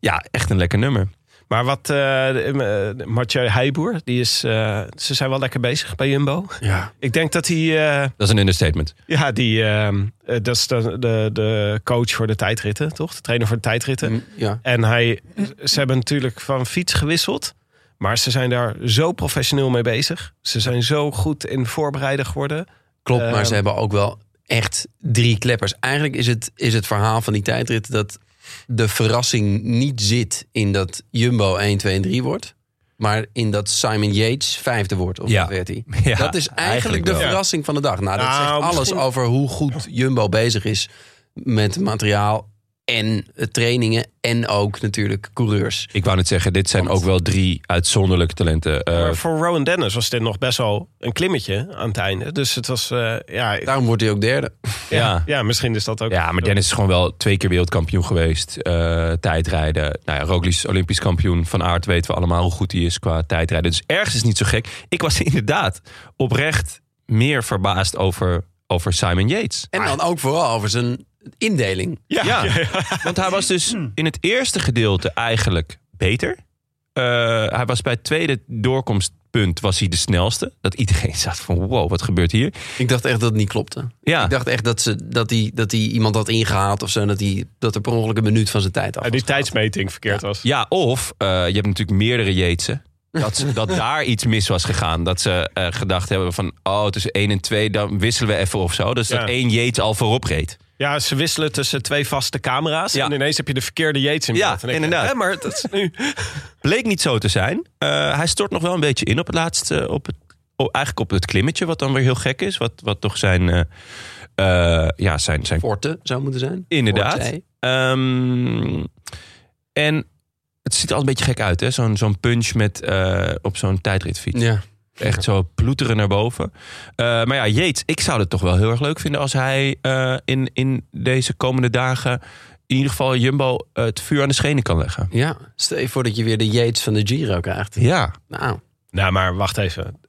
B: ja, echt een lekker nummer.
F: Maar wat eh, de- eh, Mathieu Heijboer, die is, eh, ze zijn wel lekker bezig bij Jumbo.
C: Ja.
F: Ik denk dat hij, eh,
B: Dat is een understatement.
F: ja, die, eh, eh, dat is de, de, de coach voor de tijdritten, toch? De trainer voor de tijdritten.
B: Mm.
C: Ja.
F: En hij, ze hebben natuurlijk van fiets gewisseld. Maar ze zijn daar zo professioneel mee bezig. Ze zijn zo goed in voorbereiden geworden.
C: Klopt, maar
F: Ehm,
C: ze hebben ook wel echt drie kleppers. Eigenlijk is het, is het verhaal van die tijdrit dat de verrassing niet zit in dat Jumbo 1, 2 en 3 wordt. Maar in dat Simon Yates vijfde wordt, of
B: Ja.
C: wat werd hij?
B: <laughs> Ja,
C: dat is eigenlijk,
B: eigenlijk
C: de
B: wel.
C: verrassing van de dag. Nou, dat
F: Nou,
C: zegt alles
F: misschien-
C: over hoe goed Jumbo bezig is met materiaal en eh, trainingen en ook natuurlijk coureurs.
B: Ik wou net zeggen, dit zijn ook wel drie uitzonderlijke talenten. Eh,
F: maar voor Rowan Dennis was dit nog best wel een klimmetje aan het einde. Dus het was, eh, ja, ja,
C: Daarom wordt hij ook derde.
B: ja.
F: ja, misschien is dat ook.
B: Ja, maar Dennis is gewoon wel twee keer wereldkampioen geweest. eh, tijdrijden. Nou ja, Roglic is olympisch kampioen. Van Aert weten we allemaal hoe goed hij is qua tijdrijden. Dus ergens is het niet zo gek. Ik was <laughs> inderdaad oprecht meer verbaasd over, over Simon Yates.
C: En dan ook vooral over zijn indeling.
B: Ja, want hij was dus in het eerste gedeelte eigenlijk beter. Eh, hij was bij het tweede doorkomstpunt was hij de snelste. Dat iedereen <laughs> zat van wow, wat gebeurt hier?
C: Ik dacht echt dat het niet klopte.
B: Ja,
C: Ik dacht echt dat, ze, dat, die, dat die iemand had ingehaald of zo. en Dat, die, dat er per ongeluk een minuut van zijn tijd af
F: Ja, die
C: was gehaald.
F: tijdsmeting verkeerd was.
B: ja of eh, je hebt natuurlijk meerdere Jeetsen. Dat, ze- dat daar iets mis was gegaan. Dat ze eh, gedacht hebben van, oh, tussen 1 en 2, dan wisselen we even of zo. Dus
F: Ja.
B: dat één Jeets al voorop reed.
F: Ja, ze wisselen tussen twee vaste camera's.
B: Ja.
F: En ineens heb je de verkeerde Yates in
B: Ja,
F: beeld. En ik-
B: inderdaad.
F: Hè, maar dat is nu...
B: Bleek niet zo te zijn. Eh, hij stort nog wel een beetje in op het laatste. eh, Op het, op- eigenlijk op het klimmetje, wat dan weer heel gek is. Wat, wat toch zijn. eh, eh, ja, zijn. zijn
C: Forte zou moeten zijn.
B: inderdaad.
C: Forte.
B: Ehm, en het ziet er al een beetje gek uit, hè? Zo'n zo'n punch met, eh, op zo'n tijdritfiets.
C: Ja.
B: Echt zo ploeteren naar boven. Eh, maar ja, Jeets, ik zou het toch wel heel erg leuk vinden als hij eh, in, in deze komende dagen. in ieder geval Jumbo eh, het vuur aan de schenen kan leggen.
C: ja. Stel je voor dat je weer de Yates van de Giro krijgt.
B: Ja,
C: Nou,
F: Nou, maar wacht even.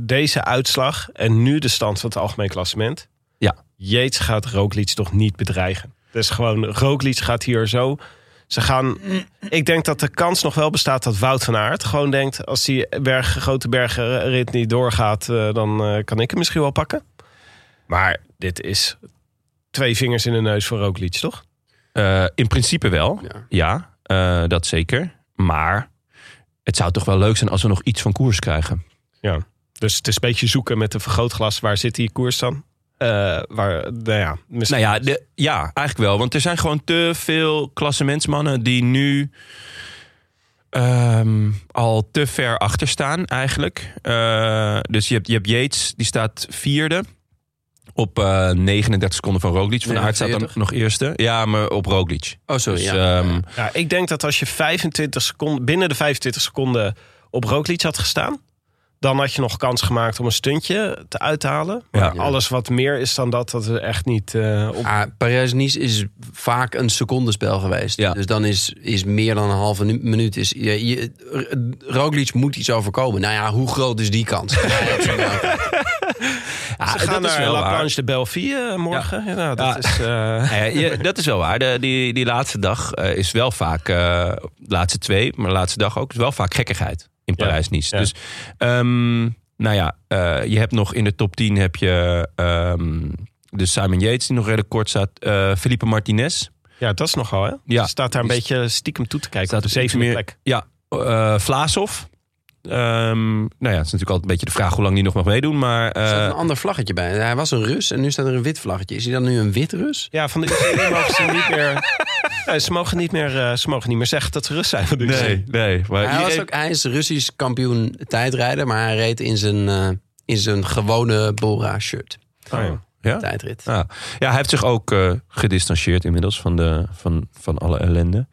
F: Deze uitslag en nu de stand van het algemeen klassement.
B: Ja.
F: Yates gaat Roglic toch niet bedreigen. Dus gewoon, Roglic gaat hier zo... Ze gaan... Ik denk dat de kans nog wel bestaat dat Wout van Aert gewoon denkt... als die berg, grote bergrit niet doorgaat, eh, dan eh, kan ik hem misschien wel pakken. Maar dit is twee vingers in de neus voor Roglic, toch?
B: Eh, in principe wel,
C: Ja.
B: ja. eh, dat zeker. Maar het zou toch wel leuk zijn als we nog iets van koers krijgen.
F: Ja. Dus het is een beetje zoeken met een vergrootglas. Waar zit die koers dan? Eh, waar, nou ja, misschien...
B: Nou ja, de, ja, eigenlijk wel. Want er zijn gewoon te veel klassementsmannen die nu ehm, al te ver achter staan eigenlijk. Eh, dus je hebt, je hebt Yates, die staat vierde. Op eh, 39 seconden van Roglic. Van de Aert staat dan
C: 49.
B: nog eerste. Ja, maar op Roglic.
C: oh sorry.
B: Dus,
C: ja.
B: ehm,
F: Ja, ik denk dat als je 25 seconden, binnen de 25 seconden op Roglic had gestaan... Dan had je nog kans gemaakt om een stuntje te uithalen. Maar
C: Ja.
F: alles wat meer is dan dat, dat is echt niet eh, op.
C: Ah, Parijs-Nice is vaak een secondenspel geweest.
B: Ja.
C: Dus dan is, is meer dan een halve nu- minuut. Is, je, je, R- Roglic moet iets overkomen. Nou ja, hoe groot is die kans?
F: Ze
B: dat
F: gaan
B: is
F: naar
B: wel
F: La
B: waar.
F: Planche de Belleville eh, morgen. Ja. nou, dat
B: Ja.
F: is, eh,
B: <laughs> Nou ja, je- dat is wel waar. De, die, die laatste dag eh, is wel vaak, eh, de laatste twee, maar de laatste dag ook, is wel vaak gekkigheid in
F: Ja,
B: Parijs-Nice.
F: ja.
B: Dus, ehm, nou ja, eh, je hebt nog in de top 10 heb je ehm dus Simon Yates, die nog redelijk kort staat, eh Felipe Martinez.
F: ja, dat is nogal, hè?
B: Ja.
F: Ze staat daar een
B: Die
F: beetje stiekem toe te kijken.
B: staat
F: op de
B: op iets
F: zevende
B: meer-
F: plek.
B: Ja, eh Vlaasov. Ehm, nou ja, het is natuurlijk altijd een beetje de vraag hoe lang die nog mag meedoen, maar... eh,
C: Er staat een ander vlaggetje bij. Hij was een Rus en nu staat er een wit vlaggetje. Is hij dan nu een wit Rus?
F: Ja, van de <laughs> UCI mogen ze niet meer... Ja, ze, mogen niet meer eh, ze mogen niet meer zeggen dat ze Rus zijn. Van de UCI.
B: Nee, nee. Maar
C: Hij, was
B: iedereen-
C: ook, hij is Russisch kampioen tijdrijden, maar hij reed in zijn, eh, in zijn gewone Bora-shirt.
F: Oh, ja.
B: ja?
C: Tijdrit.
B: Ja. ja, hij heeft zich ook eh, gedistantieerd inmiddels van, de, van, van alle ellende.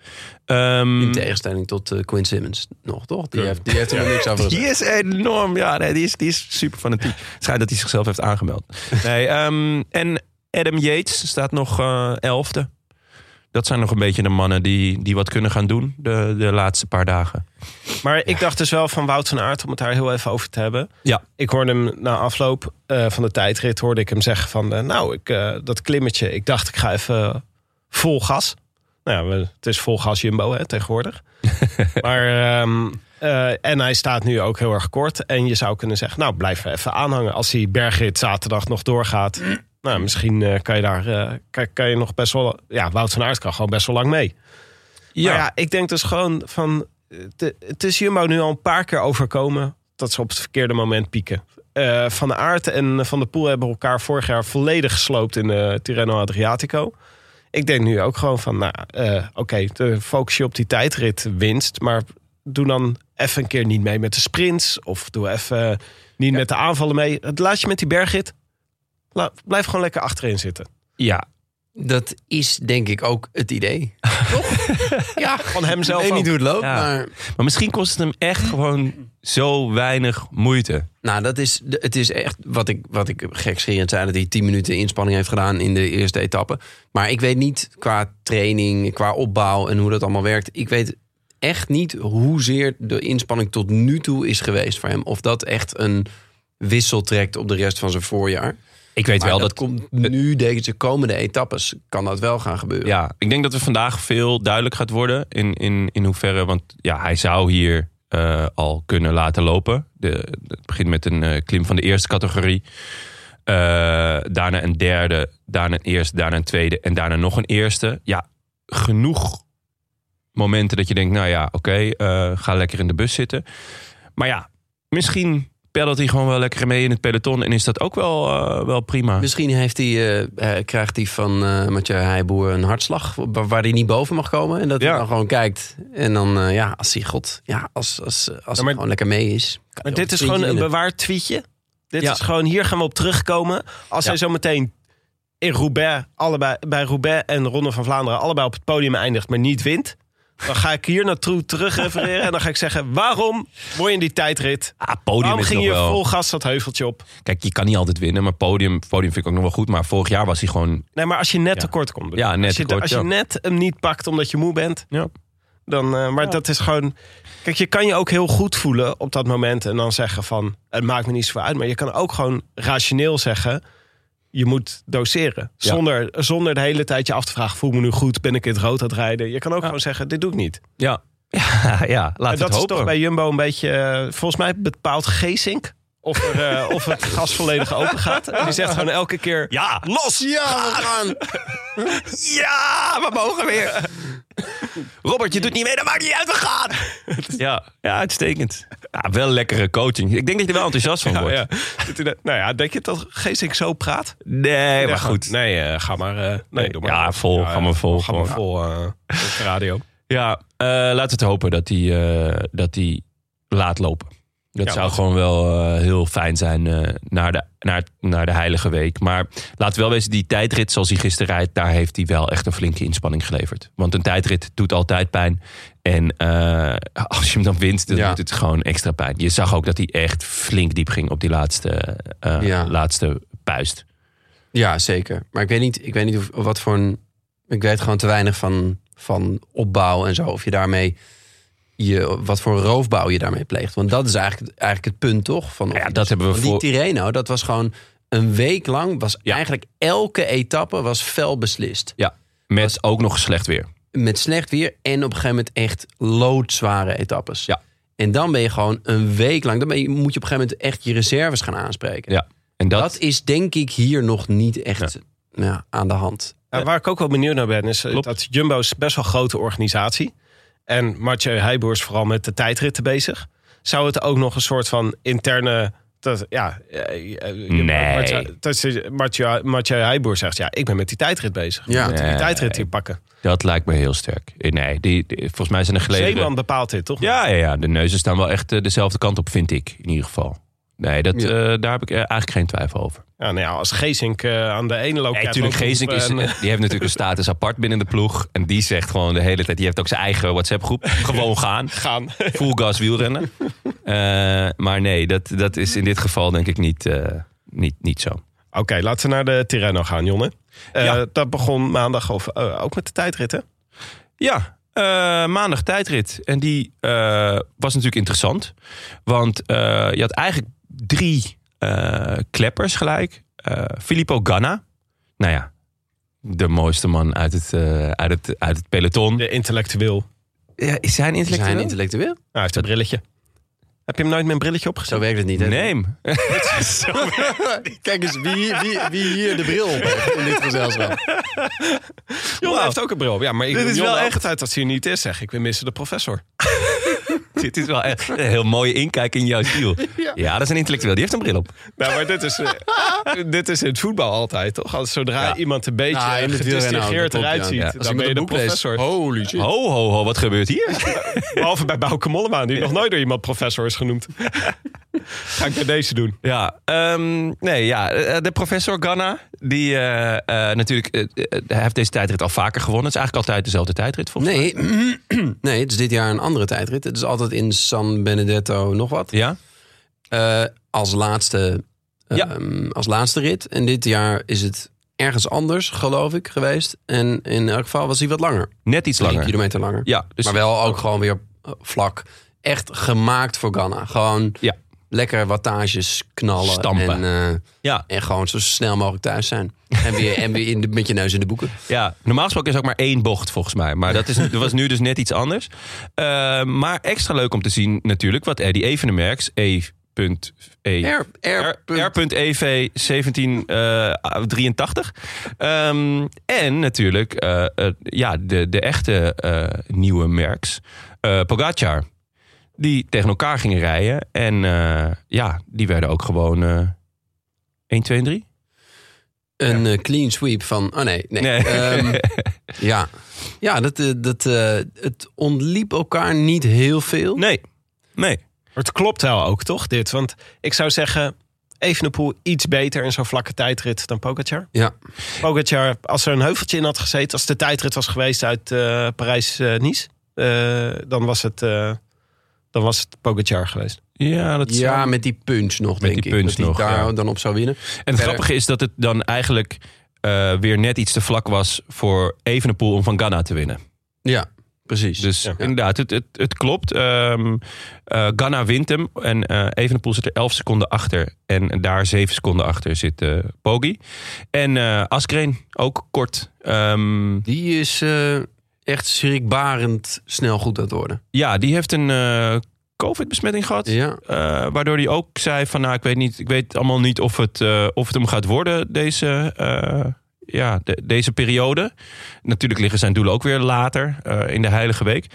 B: Ehm,
C: In tegenstelling tot eh, Quinn Simmons nog, toch? Die heeft, die heeft er nog niks over gezegd.
B: die is enorm. Ja, nee, die, is, die is super fanatiek. Het Schijnt dat hij zichzelf heeft aangemeld. Nee, ehm, en Adam Yates staat nog eh, elfde. Dat zijn nog een beetje de mannen die, die wat kunnen gaan doen de, de laatste paar dagen.
F: <laughs> Maar ik dacht dus wel van Wout van Aert, om het daar heel even over te hebben.
B: Ja.
F: Ik hoorde hem na afloop eh, van de tijdrit, hoorde ik hem zeggen van... eh, nou, ik, eh, dat klimmetje, ik dacht ik ga even eh, vol gas. Nou ja, we- het is vol gas Jumbo hè, tegenwoordig. maar, ehm, eh, en hij staat nu ook heel erg kort. En je zou kunnen zeggen, nou, blijf er even aanhangen. Als die bergrit zaterdag nog doorgaat... Nou, misschien eh, kan je daar eh, kan, kan je nog best wel... Ja, Wout van Aert kan gewoon best wel lang mee. Ja. ja, ik denk dus gewoon van... eh, de- het is Jumbo nu al een paar keer overkomen dat ze op het verkeerde moment pieken. Eh, van Aert en Van der Poel hebben elkaar vorig jaar volledig gesloopt in de Tirreno Adriatico. Ik denk nu ook gewoon van, nou, eh, oké, de focus je op die tijdrit winst. Maar doe dan even een keer niet mee met de sprints. Of doe even eh, niet met de aanvallen mee. Het laat je met die bergrit. La- blijf gewoon lekker achterin zitten.
B: Ja,
C: Dat is denk ik ook het
B: <laughs>
C: idee.
F: Ja, van
C: ik
F: hemzelf
C: weet
F: ook.
C: niet hoe het loopt,
B: Ja.
C: maar...
B: maar misschien kost het hem echt gewoon zo weinig moeite.
C: Nou, dat is, de- het is echt wat ik, wat ik gekscherend zei... dat hij 10 minuten inspanning heeft gedaan in de eerste etappe. Maar ik weet niet qua training, qua opbouw en hoe dat allemaal werkt... ik weet echt niet hoezeer de inspanning tot nu toe is geweest voor hem. Of dat echt een wissel trekt op de rest van zijn voorjaar.
B: Ik weet
C: Maar
B: wel
C: dat,
B: dat
C: komt nu, deze komende etappes, kan dat wel gaan gebeuren.
B: Ja, ik denk dat er vandaag veel duidelijk gaat worden in, in, in hoeverre. Want ja, hij zou hier eh, al kunnen laten lopen. De, het begint met een eh, klim van de eerste categorie. Eh, daarna een derde, daarna een eerste, daarna een tweede en daarna nog een eerste. Ja, genoeg momenten dat je denkt, nou ja, oké, eh, ga lekker in de bus zitten. Maar ja, misschien peddelt hij gewoon wel lekker mee in het peloton en is dat ook wel, eh, wel prima.
C: Misschien heeft hij, eh, eh, krijgt hij van eh Mathieu Heijboer een hartslag wa- waar, hij niet boven mag komen. En dat
B: Ja.
C: hij dan gewoon kijkt. En dan, eh, ja, als hij, god, ja, als, als, eh, als hij
F: maar-
C: gewoon lekker mee is. kan hij
F: Maar
C: ook
F: dit is
C: een
F: gewoon een
C: puntje
F: bewaard tweetje. Dit
C: Ja.
F: is gewoon, hier gaan we op terugkomen. Als
B: Ja.
F: hij zo meteen in Roubaix, allebei, bij Roubaix en de Ronde van Vlaanderen... allebei op het podium eindigt, maar niet wint... dan ga ik hier naartoe terugrefereren en dan ga ik zeggen... waarom word je in die tijdrit?
B: Ah, podium
F: waarom
B: is
F: ging
B: nog
F: je
B: wel-
F: vol gas dat heuveltje op?
B: Kijk, je kan niet altijd winnen, maar podium, podium vind ik ook nog wel goed. Maar vorig jaar was hij gewoon.
F: Nee, maar als je net
B: Ja.
F: tekort komt.
B: Ja, net
F: als je,
B: tekort,
F: als je
B: ja.
F: net hem niet pakt omdat je moe bent...
B: Ja.
F: Dan, eh, maar dat is gewoon... Kijk, je kan je ook heel goed voelen op dat moment en dan zeggen van... het maakt me niet zoveel uit, maar je kan ook gewoon rationeel zeggen... je moet doseren.
B: Ja.
F: Zonder, zonder de hele tijd je af te vragen... voel me nu goed, ben ik in het rood aan het rijden? Je kan ook gewoon zeggen, dit doe ik niet.
B: Ja, <laughs> ja, ja laat
F: En dat
B: het
F: is
B: hopen.
F: toch bij Jumbo een beetje... eh, volgens mij bepaalt Geesink of, er, eh,
B: <laughs>
F: of het gas volledig open gaat. En die zegt gewoon elke keer...
B: Ja, los! Ja, we gaan! <laughs> ja, we mogen weer! Robert, je doet niet mee, dat maakt niet uit, we
F: <laughs>
B: gaan! ja, ja, uitstekend. Ja, wel lekkere coaching. Ik denk dat je er wel enthousiast van
F: Nou
B: wordt.
F: ja, Dat hij dat- nou ja, denk je dat Geesink zo praat?
B: Nee, maar
F: Ja, gewoon,
B: goed.
F: Nee, eh, ga maar. eh, nee, doe maar.
B: Ja, vol, ga maar vol,
F: Ga maar
B: gewoon.
F: vol eh, op de radio.
B: Ja, eh, laten we het hopen dat hij, eh, dat hij laat lopen. Dat
F: Ja,
B: zou
F: maar-
B: gewoon wel eh, heel fijn zijn eh, naar, de, naar, naar de Heilige Week. Maar laten we wel wezen, die tijdrit zoals hij gisteren rijdt... daar heeft hij wel echt een flinke inspanning geleverd. Want een tijdrit doet altijd pijn. En eh, als je hem dan wint, dan
C: Ja.
B: doet het gewoon extra pijn. Je zag ook dat hij echt flink diep ging op die laatste, eh,
C: Ja.
B: laatste puist.
C: Ja, zeker. Maar ik weet niet, ik weet niet of, of wat voor een... Ik weet gewoon te weinig van, van opbouw en zo. Of je daarmee... Je, wat voor roofbouw je daarmee pleegt. Want dat is eigenlijk, eigenlijk het punt, toch? Van, of
B: Ja,
C: je-
B: dat hebben we
C: want die
B: voor-
C: Tirreno, dat was gewoon een week lang... was
B: Ja.
C: eigenlijk elke etappe was fel beslist.
B: Ja, met ook nog slecht weer.
C: Met slecht weer en op een gegeven moment echt loodzware etappes.
B: Ja.
C: En dan ben je gewoon een week lang... Dan ben je, moet je op een gegeven moment echt je reserves gaan aanspreken.
B: Ja. En dat,
C: Dat, is denk ik hier nog niet echt ja, aan de hand.
F: Ja, waar ik ook wel benieuwd naar ben, is eh,
B: Klopt.
F: dat Jumbo is best wel een grote organisatie. En Mathieu Heijboer is vooral met de tijdritten bezig. Zou het ook nog een soort van interne... Dat, ja, eh, eh,
B: Nee.
F: Mathieu- dat ze- Mathieu, Mathieu Heijboer zegt, ja, ik ben met die tijdrit bezig.
C: Ja.
F: Moeten we die
B: Nee.
F: tijdrit hier pakken?
B: dat lijkt me heel sterk. Eh, Nee, die, die- volgens mij zijn er geleden...
F: Zeeman bepaalt dit, toch?
B: Ja, ja, ja, de neuzen staan wel echt eh, dezelfde kant op, vind ik in ieder geval. Nee, dat,
C: Ja.
B: eh, daar heb ik eh, eigenlijk geen twijfel over.
F: Ja, nou ja, als Geesink eh, aan de ene loopt...
B: Nee, natuurlijk, Geesink
F: eh,
B: is, die heeft natuurlijk een eh, status apart binnen de ploeg. En die zegt gewoon de hele tijd, die heeft ook zijn eigen <laughs> WhatsApp-groep. Gewoon gaan.
F: <laughs> gaan. <laughs>
B: Full gas wielrennen. Eh, maar nee, dat, dat is in dit geval denk ik niet, eh, niet, niet zo.
F: Oké, laten we naar de Tirreno gaan, Jonne. Eh,
B: Ja.
F: Dat begon maandag of, eh, ook met de tijdritten.
B: Ja, eh, maandag tijdrit. En die eh, was natuurlijk interessant. Want eh, je had eigenlijk drie eh, kleppers gelijk. Eh, Filippo Ganna. Nou ja, de mooiste man uit het, eh, uit het, uit het peloton.
F: De intellectueel.
B: Ja, is hij een
C: Is hij een
B: intellectueel?
C: intellectueel?
F: Nou, hij heeft een brilletje. Heb je hem nooit met een brilletje opgezet?
C: Zo werkt het niet. hè?
B: Nee. hem.
C: <laughs> Kijk eens wie, wie, wie hier de bril op heeft in dit gezelschap.
F: Jonne
B: Wauw.
F: heeft ook een bril. op. Ja, maar ik
B: Dit is
F: dit is Jonne
B: wel
F: wel
B: echt-
F: echt uit dat hij er niet is, zeg. Ik wil missen de professor.
B: Dit is wel echt een heel mooie inkijk in jouw ziel. <laughs> Ja. dat is een intellectueel. Die heeft een bril op.
F: Nou, maar dit is, eh, <laughs> dit is in het voetbal altijd, toch? Als zodra
B: Ja.
F: iemand een beetje
C: Nou, in het wielrennen ook, dat
F: gedistingeerd
C: klopt,
F: eruit
C: ja.
F: ziet,
C: Ja.
B: Als
F: dan ben je de professor.
C: Holy shit.
B: Ho, ho, ho. Wat gebeurt <laughs> hier?
F: <laughs> Behalve bij Bauke Mollema, die nog nooit door iemand professor is
B: <laughs>
F: genoemd. Ga ik bij deze doen.
B: Ja, ehm, nee, ja. eh, De professor Ganna, die eh, eh, natuurlijk eh, eh, hij heeft deze tijdrit al vaker gewonnen. Het is eigenlijk altijd dezelfde tijdrit, volgens
C: Nee, <clears throat> nee, het is dit jaar een andere tijdrit. Het is altijd in San Benedetto nog wat.
B: mij. Ja?
C: Eh, als, laatste,
B: Ja.
C: ehm, als laatste rit. En dit jaar is het ergens anders, geloof ik, geweest. En in elk geval was hij wat langer.
B: Net iets
C: Drie
B: langer.
C: kilometer langer.
B: Ja, dus
C: maar wel ook gewoon weer eh, vlak. Echt gemaakt voor Ghana. Gewoon
B: Ja.
C: lekker wattages knallen.
B: Stampen.
C: En, eh,
B: Ja.
C: en gewoon zo snel mogelijk thuis zijn. En weer, en weer in de, met je neus in de boeken.
B: Ja, normaal gesproken is ook maar één bocht volgens mij. Maar
F: <laughs>
B: dat, is, dat was nu dus net iets anders. Eh, maar extra leuk om te zien natuurlijk wat Eddie Evenemerks, E. punt- E.
C: R, R, punt.
B: R.EV 1783. eh, Ehm, en natuurlijk eh, eh, ja, de, de echte eh, nieuwe merks. eh Pogacar. Die tegen elkaar gingen rijden. En eh, ja, die werden ook gewoon eh 1, 2 en 3.
C: Een eh, clean sweep van... Oh nee, nee.
B: <laughs>
C: Ehm, ja, ja dat, eh, dat, eh, het ontliep elkaar niet heel veel.
B: nee, nee.
F: Maar het klopt wel ook, toch, dit? Want ik zou zeggen, Evenepoel iets beter in zo'n vlakke tijdrit dan Pogacar.
C: Ja,
F: Pogacar, als er een heuveltje in had gezeten... als de tijdrit was geweest uit eh, Parijs-Nice... eh, dan, was het, eh, dan was het Pogacar geweest.
B: Ja, dat is
C: ja met die punch nog, denk
B: die
C: ik.
B: punch
C: dat hij
B: nog,
C: daar
B: ja.
C: dan op zou winnen.
B: En het grappige is dat het dan eigenlijk eh, weer net iets te vlak was voor Evenepoel om van Ghana te winnen.
C: Ja, precies.
B: Dus inderdaad, het, het, het klopt. Ehm eh, Ghana wint hem. En eh Evenepoel zit er 11 seconden achter. En daar 7 seconden achter zit eh Poggi. En eh Askreen ook kort. Ehm,
C: Die is eh, echt schrikbarend snel goed aan het worden.
B: ja, die heeft een eh, COVID-besmetting gehad.
C: Ja.
B: Eh, waardoor hij ook zei van, nou, ik weet, niet, ik weet allemaal niet of het, eh, of het hem gaat worden, deze, eh, ja, de- deze periode. Natuurlijk liggen zijn doelen ook weer later eh, in de Heilige Week.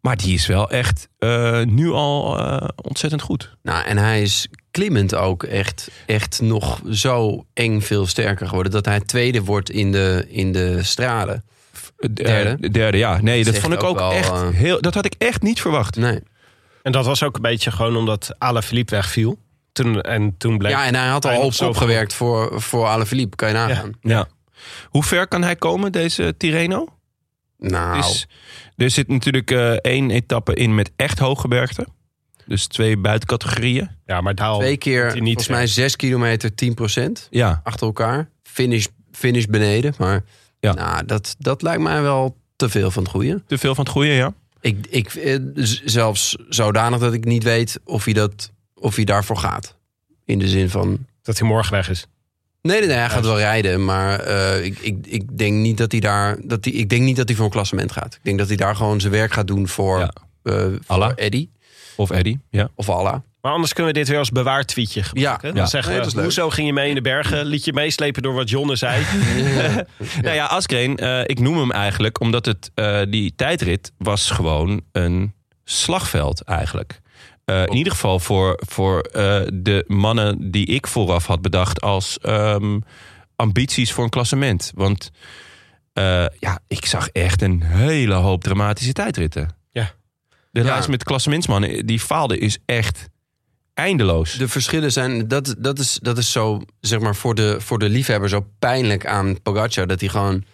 B: Maar die is wel echt eh, nu al eh, ontzettend goed.
C: Nou, en hij is klimmend ook echt, echt nog zo eng veel sterker geworden... dat hij tweede wordt in de, in de stralen.
B: Eh,
C: Derde?
B: eh, Derde, ja. Nee, dat,
C: zegt
B: vond ik
C: ook
B: ook
C: wel,
B: echt
C: eh,
B: heel... Dat had ik echt niet verwacht.
C: Nee.
F: En dat was ook een beetje gewoon omdat Alaphilippe wegviel. Toen, en toen bleek...
C: Ja, en hij had
F: Hij
C: al
F: had
C: op kop
F: zoveel-
C: gewerkt voor, voor Alaphilippe, kan je nagaan.
B: Ja. Hoe ver kan hij komen, deze Tireno?
C: Nou,
B: Dus, er zit natuurlijk eh, één etappe in met echt hoge bergte. Dus twee buitencategorieën.
F: ja, maar daar
C: twee
F: had
C: keer,
F: hij niet
C: volgens mij 6 kilometer, 10 procent
B: Ja,
C: achter elkaar. Finish, finish beneden, maar
B: Ja.
C: nou, dat, dat lijkt mij wel te veel van het goede.
B: te veel van het goede, ja.
C: Ik, ik, eh, z- zelfs zodanig dat ik niet weet of hij, dat, of hij daarvoor gaat. In de zin van...
F: dat hij morgen weg is.
C: Nee, nee, nee, hij gaat wel rijden, maar eh, ik, ik, ik denk niet dat hij daar... Dat hij, ik denk niet dat hij voor een klassement gaat. Ik denk dat hij daar gewoon zijn werk gaat doen voor,
B: Ja.
C: eh,
B: Allah.
C: voor Eddy
B: Of Eddy, ja.
C: of Allah.
F: Maar anders kunnen we dit weer als bewaard tweetje gebruiken.
C: Ja,
F: Dan
B: Ja.
F: zeggen
C: Nee, dat is
F: we,
C: leuk.
F: hoezo ging je mee in de bergen? Liet je meeslepen door wat Jonne zei?
B: Nou ja, Asgreen, eh, ik noem hem eigenlijk omdat het, eh, die tijdrit was gewoon een slagveld eigenlijk. Eh, in ieder geval voor, voor eh, de mannen die ik vooraf had bedacht als ehm, ambities voor een klassement. Want eh, ja, ik zag echt een hele hoop dramatische tijdritten.
F: Ja.
B: <laughs> De
C: Ja.
B: lijst met klassementsmannen die faalde is echt eindeloos.
C: De verschillen zijn, dat, dat, is, dat is zo, zeg maar, voor de, voor de liefhebber zo pijnlijk aan Pogacar. Dat hij gewoon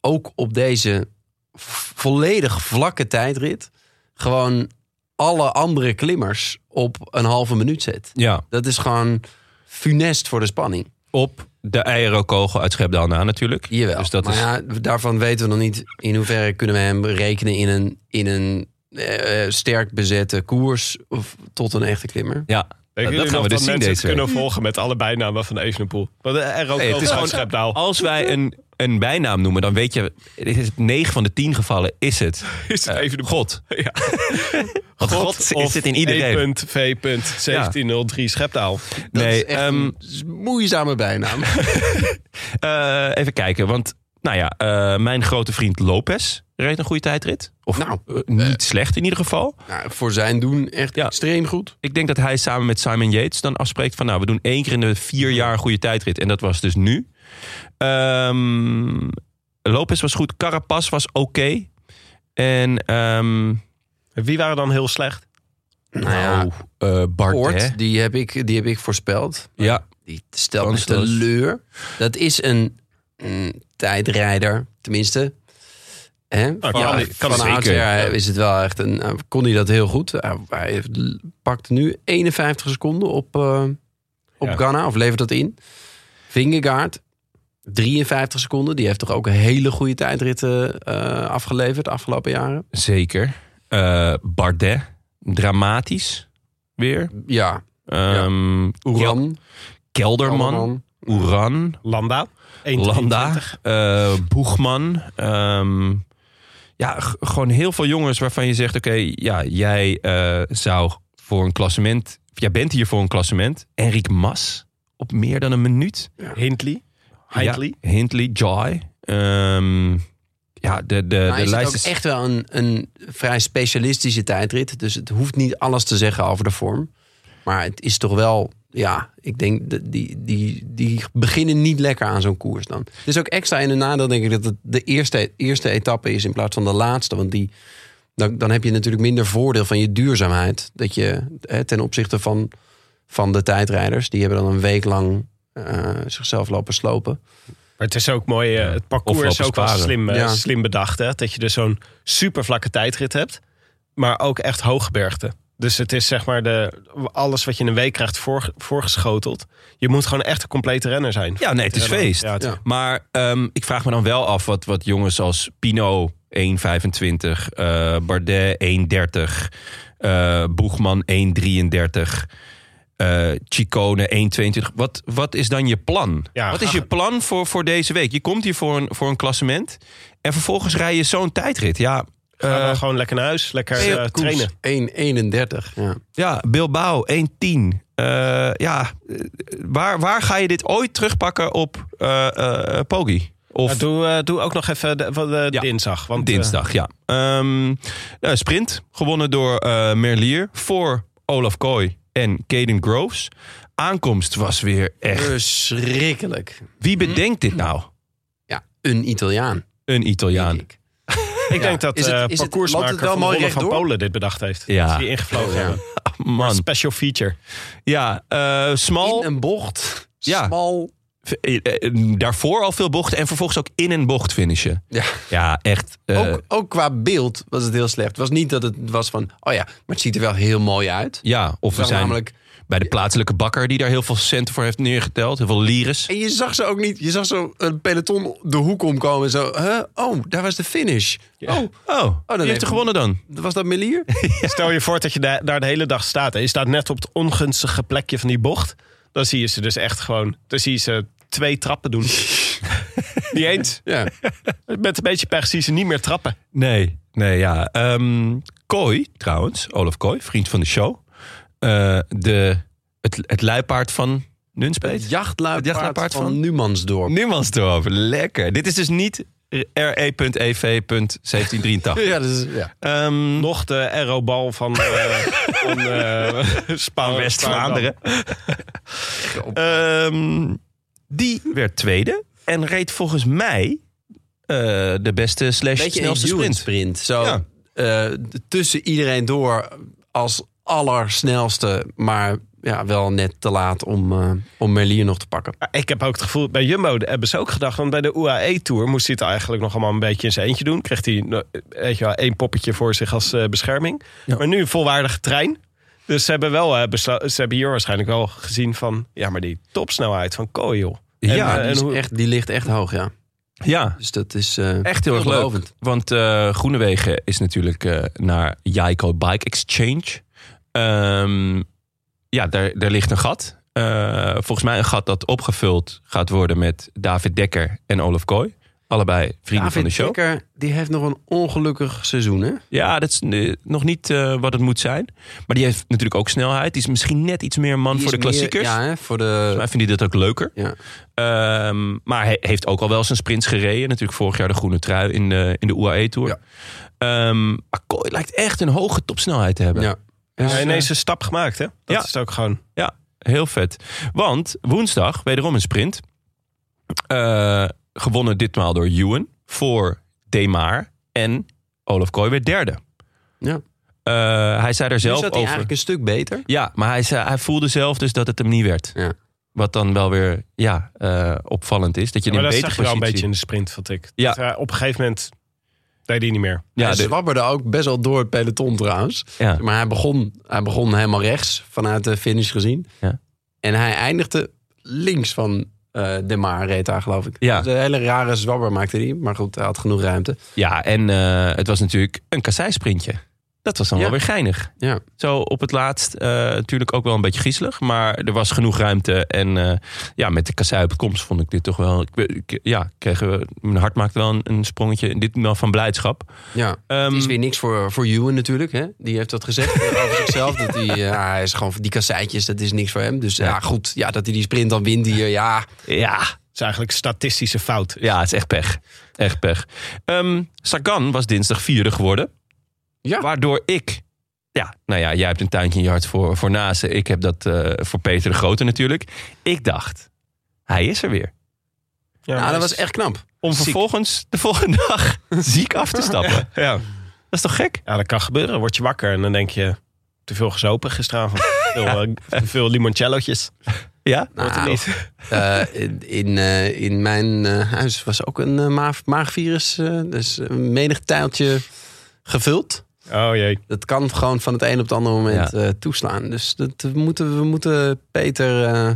C: ook op deze v- volledig vlakke tijdrit. gewoon alle andere klimmers op een halve minuut zet.
B: ja.
C: Dat is gewoon funest voor de spanning.
B: Op de eierkogel uit Schepdaal na natuurlijk.
C: Jawel.
B: Dus dat
C: maar
B: is...
C: ja, daarvan weten we nog niet in hoeverre kunnen we hem rekenen in een, in een eh, eh, sterk bezette koers. of tot een echte klimmer.
B: Ja,
F: Denken
B: dat
F: jullie
B: gaan
F: nog
B: we dus zien
F: mensen het
B: deze week.
F: kunnen volgen met alle bijnamen van Evenepoel? Want er ook
B: Nee, het is gewoon-
F: Schepdaal.
B: Als wij een, een bijnaam noemen, dan weet je... Het is 9 van de 10 gevallen is het.
F: Is het
B: eh,
F: Evenepoel?
B: God.
F: Ja.
B: Want God,
F: of E
B: is het in iedereen.
F: E.V.1703 Schepdaal.
C: Dat is
B: Nee,
C: echt
B: ehm,
C: een moeizame bijnaam.
B: eh, even kijken. Want nou ja, eh, mijn grote vriend Lopez reed een goede tijdrit. Of
C: Nou,
B: eh, niet slecht in ieder geval.
C: Nou, voor zijn doen echt
B: Ja.
C: extreem goed.
B: Ik denk dat hij samen met Simon Yates dan afspreekt van... nou, we doen één keer in de vier jaar een goede tijdrit. En dat was dus nu. Ehm, Lopez was goed. Carapaz was oké. En ehm
F: Wie waren dan heel slecht?
C: Nou ja,
B: eh, Bardet.
C: Poort, die heb, ik, die heb ik voorspeld.
B: Ja,
C: Die stelt me
B: Kansloos.
C: teleur. Dat is een mm, tijdrijder, tenminste. Hè?
B: Nou,
F: kan
C: ja,
F: hij- kan
C: van
F: hij
C: oudsher
B: zeker.
C: hè, is het wel echt een. eh, kon hij dat heel goed? Hij, hij heeft- pakt nu 51 seconden op, eh, op
F: Ja.
C: Ghana, of levert dat in. Vingegaard, 53 seconden. Die heeft toch ook een hele goede tijdritten eh, afgeleverd de afgelopen jaren.
B: zeker. Eh, Bardet. Dramatisch. Weer.
C: Ja,
B: Ehm Kel-
C: Oeran,
B: Kelderman.
C: Kelderman.
B: Oeran.
F: Landa. 1,23.
B: Landa. eh, Boegman. ehm, ja, g- gewoon heel veel jongens waarvan je zegt... Oké, ja, jij eh, zou voor een klassement... Jij bent hier voor een klassement. Enric Mas. Op meer dan een minuut.
F: Hindley. Hindley.
B: Ja, Hindley. Joy. Ehm, ja, de, de,
C: Maar
B: de
C: is het
B: lijst
C: ook echt wel een, een vrij specialistische tijdrit. Dus het hoeft niet alles te zeggen over de vorm. Maar het is toch wel, ja, ik denk, dat die, die, die beginnen niet lekker aan zo'n koers dan. Het is ook extra in de nadeel, denk ik, dat het de eerste, eerste etappe is in plaats van de laatste. Want die, dan, dan heb je natuurlijk minder voordeel van je duurzaamheid. Dat je hè, ten opzichte van, van de tijdrijders, die hebben dan een week lang eh, zichzelf lopen slopen.
F: Maar het is ook mooi, eh, het parcours
B: Of
F: is ook wel
B: sparen.
F: slim, eh,
C: Ja.
F: slim bedacht. Hè? Dat je dus zo'n super vlakke tijdrit hebt, maar ook echt hooggebergte. Dus het is zeg maar de, alles wat je in een week krijgt voor, voorgeschoteld. Je moet gewoon echt een complete renner zijn.
B: Ja, nee, het is feest.
F: Ja, het-
C: Ja.
B: Maar ehm, ik vraag me dan wel af wat, wat jongens als Pino 1,25, eh, Bardet 1,30, eh, Boegman 1,33, eh Chicone 1,22. Wat, wat is dan je plan?
F: Ja,
B: wat is
F: ga-
B: je plan voor, voor deze week? Je komt hier voor een, voor een klassement en vervolgens rij je zo'n tijdrit. Ja,
F: Ga
B: eh,
F: dan gewoon lekker naar huis, lekker
B: nee,
F: eh,
B: koers.
F: trainen.
C: 1,31. Ja.
B: ja Bilbao 1,10. Eh, ja, eh, waar, waar ga je dit ooit terugpakken op eh eh, Poggi? Of
F: Maar doe, eh, doe ook nog even de, van de
B: Ja.
F: dinsdag. Want, eh,
B: Dinsdag, ja. Ehm, nou, sprint, gewonnen door eh, Merlier voor Olaf Kooi en Caden Groves. Aankomst was weer echt...
C: Verschrikkelijk.
F: Hm?
B: Wie bedenkt dit nou?
C: Ja, een Italiaan.
B: Een Italiaan.
C: denk ik.
F: Ik denk dat
C: Is het-
F: eh
C: is het- loopt het
F: parcoursmaker
C: wel
F: van de
C: mooi
F: Ronde van
C: rechtdoor?
F: Polen dit bedacht heeft.
B: Ja. Ah,
F: Dat ze die ingevlogen hebben.
B: Man,
F: Special feature.
B: ja, eh smal.
C: In een bocht.
B: Ja.
C: Smal.
B: Eh, eh, Daarvoor al veel bochten en vervolgens ook in een bocht finishen.
C: Ja.
B: Ja, echt.
F: Oh,
B: eh,
C: Ook, ook qua beeld was het heel slecht. Het was niet dat het was van, oh ja, maar het ziet er wel heel mooi uit.
B: ja, of we
C: zag
B: zijn
C: namelijk-
B: bij de plaatselijke bakker die daar heel veel centen voor heeft neergeteld. Heel veel lires.
C: En je zag ze ook niet. Je zag zo een peloton de hoek omkomen. Zo, huh? oh, daar was de finish. Oh,
B: Oh,
C: dan
B: oh die heeft
C: heeft-
B: er gewonnen dan.
C: was dat
B: <laughs>
C: Melier?
F: Stel je voor dat je da- daar de hele dag staat. En je staat net op het ongunstige plekje van die bocht. Dan zie je ze dus echt gewoon... Dan zie je ze twee
C: <laughs>
F: trappen doen. niet eens.
C: ja.
F: Met een beetje pech zie je ze niet meer trappen.
B: Nee, nee, ja. Ehm Kooi, trouwens, Olaf Kooi, vriend van de show. Eh, de, het, het luipaard van Nunspeet.
C: Het jachtluipaard,
B: Het jachtluipaard
C: van,
B: van-
C: Numansdorp.
B: <laughs> Niemandsdorp, lekker. Dit is dus niet e re.ev.1783.
C: Ja, dat is, ja.
B: Ehm,
F: Nog de aerobal van, eh van eh, Spa-
B: van West-Vlaanderen. <laughs> Ehm, die werd tweede en reed volgens mij eh, de beste slash
C: Beetje
B: snelste
C: een
B: sprint.
C: sprint. Zo
B: Ja.
C: eh, d- tussen iedereen door als allersnelste, maar ja, wel net te laat om, eh, om Merlier nog te pakken.
F: Maar Ik heb ook het gevoel, bij Jumbo hebben ze ook gedacht, want bij de UAE-tour moest hij het eigenlijk nog allemaal een beetje in zijn eentje doen. Kreeg hij nou, weet je wel, één poppetje voor zich als eh, bescherming. Maar nu een volwaardige trein. Dus ze hebben, wel, eh, beslo- ze hebben hier waarschijnlijk wel gezien van, ja, maar die topsnelheid van Kooi, joh. En,
B: Ja,
F: eh,
C: die,
F: en
C: is
F: hoe-
C: echt, die ligt echt hoog, ja.
B: Ja,
C: Dus dat is eh,
B: echt heel erg leuk.
C: belovend.
B: Want eh, Groenewegen is natuurlijk eh, naar Jaiko Bike Exchange. Ehm, ja, daar, daar ligt een gat. Eh, volgens mij een gat dat opgevuld gaat worden met David Dekker en Olaf Kooi. Allebei vrienden van de
C: David
B: show.
C: Dekker, die heeft nog een ongelukkig seizoen, hè?
B: Ja, dat is eh, nog niet eh, wat het moet zijn. Maar die heeft natuurlijk ook snelheid. Die is misschien net iets meer een man
C: Die
B: voor de
C: is meer-
B: klassiekers.
C: ja, hè, voor de...
B: Volgens mij vindt hij dat ook leuker.
C: Ja.
B: Ehm, maar hij heeft ook al wel zijn sprints gereden. Natuurlijk vorig jaar de groene trui in de, in de UAE-tour.
C: Ja.
B: Ehm, maar Kooi lijkt echt een hoge topsnelheid te hebben.
C: Ja.
F: hij
C: Dus,
F: heeft
C: eh,
F: ineens een stap gemaakt, hè? Dat
B: Ja.
F: is het ook gewoon.
B: Ja, heel vet. Want woensdag, wederom een sprint. Eh, gewonnen ditmaal door Ewan voor Demar. En Olaf Kooi werd derde.
C: Ja.
B: Eh, hij zei daar
C: nu
B: zelf
C: zat hij
B: over...
C: eigenlijk een stuk beter.
B: Ja, maar hij, zei, hij voelde zelf dus dat het hem niet werd.
C: Ja.
B: Wat dan wel weer ja, eh, opvallend is. Dat je in
F: Maar
B: een
F: dat
B: betere
F: zag je wel
B: positie...
F: een beetje in de sprint, vond ik.
B: Ja.
F: Dat hij op een gegeven moment deed hij niet meer.
B: ja,
C: hij
B: de-
C: zwabberde ook best wel door het peloton trouwens.
B: ja.
C: Maar hij begon, hij begon helemaal rechts, vanuit de finish gezien.
B: Ja.
C: En hij eindigde links van eh De Maar, reed daar geloof ik.
B: Ja.
C: Dus een hele rare zwabber maakte hij. Maar goed, hij had genoeg ruimte.
B: ja, en eh, het was natuurlijk een kassei-sprintje. Dat was dan
C: Ja.
B: wel weer geinig.
C: Ja.
B: Zo op het laatst eh, natuurlijk ook wel een beetje griezelig. Maar er was genoeg ruimte. En eh, ja, met de kassei op het komst vond ik dit toch wel... Ik, ik- ja, kregen we, mijn hart maakte wel een, een sprongetje. Dit wel van blijdschap.
C: ja.
B: Ehm,
C: Het is weer niks voor, voor Ewan natuurlijk. Hè? Die heeft dat gezegd <laughs> over zichzelf. Dat hij, eh, ja, hij is gewoon die kasseitjes, dat is niks voor hem. Dus ja, goed, ja, dat hij die sprint dan wint hier. Ja,
B: ja,
F: Het is eigenlijk een statistische fout.
B: ja, het is echt pech. Echt pech. Ehm, Sagan was dinsdag vierde geworden.
C: ja.
B: Waardoor ik. Ja, nou ja, jij hebt een tuintje in je hart voor, voor Nase. Ik heb dat eh, voor Peter de Grote natuurlijk. Ik dacht, hij is er weer.
F: Ja,
C: Nou,
F: maar
C: dat
F: is
C: was echt knap.
B: Om
F: Ziek.
B: vervolgens de volgende
F: <laughs>
B: dag ziek af te stappen.
F: Ja.
B: Dat is toch gek?
F: Ja, dat kan gebeuren. Word je wakker en dan denk je... te veel gezopen
B: <laughs>
F: gisteravond. Te veel, eh, te veel limoncello'tjes.
B: Ja?
F: Wordt het
C: Nou,
F: niet.
C: Eh, in- in, eh, in mijn eh, huis was ook een eh, maag- maagvirus. eh, dus een menig tijltje gevuld.
F: Oh jee.
C: Dat kan gewoon van het een op het andere moment eh, toeslaan. Dus dat we moeten, we moeten Peter, eh,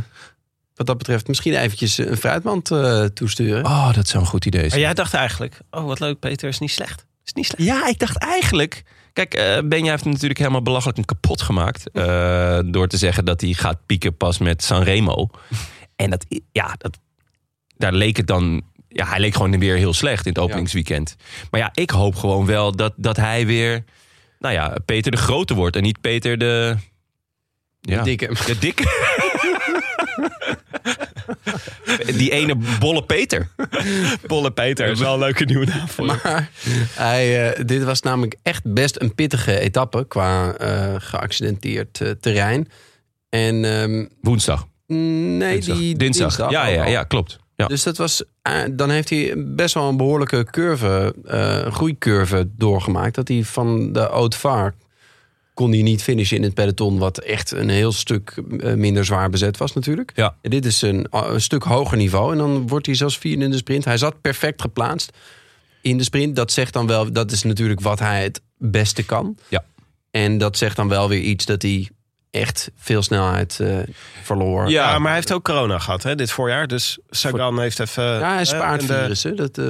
C: wat dat betreft, misschien eventjes een fruitmand eh, toesturen.
B: Oh, dat zou een goed idee
F: Maar
B: zijn.
F: jij dacht eigenlijk... Oh, wat leuk, Peter is niet slecht. Is niet slecht.
B: Ja, ik dacht eigenlijk. Kijk, eh Benja heeft hem natuurlijk helemaal belachelijk en kapot gemaakt. eh, door te zeggen dat hij gaat pieken pas met Sanremo.
F: <laughs>
B: En dat, ja, dat, daar leek het dan. Ja, hij leek gewoon weer heel slecht in het openingsweekend. Maar ja, ik hoop gewoon wel dat, dat hij weer. Nou ja, Peter de Grote wordt en niet Peter de. Ja,
C: Dikke. <laughs>
B: de dikke. Die ene bolle Peter. dus
F: Bolle Peter is wel een leuke nieuwe naam voor je.
C: Maar hij, eh, dit was namelijk echt best een pittige etappe qua eh, geaccidenteerd eh, terrein. En ehm,
B: Woensdag.
C: nee,
B: Dinsdag.
C: die
B: dinsdag. Oh,
C: dinsdag
B: Ja,
C: ook
B: ja,
C: al.
B: ja, klopt. Ja.
C: Dus dat was, eh, dan heeft hij best wel een behoorlijke curve, eh, groeicurve doorgemaakt. Dat hij van de haute Vaart kon hij niet finishen in het peloton, wat echt een heel stuk eh, minder zwaar bezet was natuurlijk.
B: Ja.
C: En dit is een, eh, een stuk hoger niveau en dan wordt hij zelfs vierde in de sprint. Hij zat perfect geplaatst in de sprint. Dat zegt dan wel, dat is natuurlijk wat hij het beste kan.
B: Ja.
C: En dat zegt dan wel weer iets dat hij echt veel snelheid eh, verloor.
F: Ja, maar hij heeft ook corona gehad hè, dit voorjaar. Dus Sagan heeft even...
C: Ja, hij spaart
F: eh, en de-
C: virussen. Dat, eh,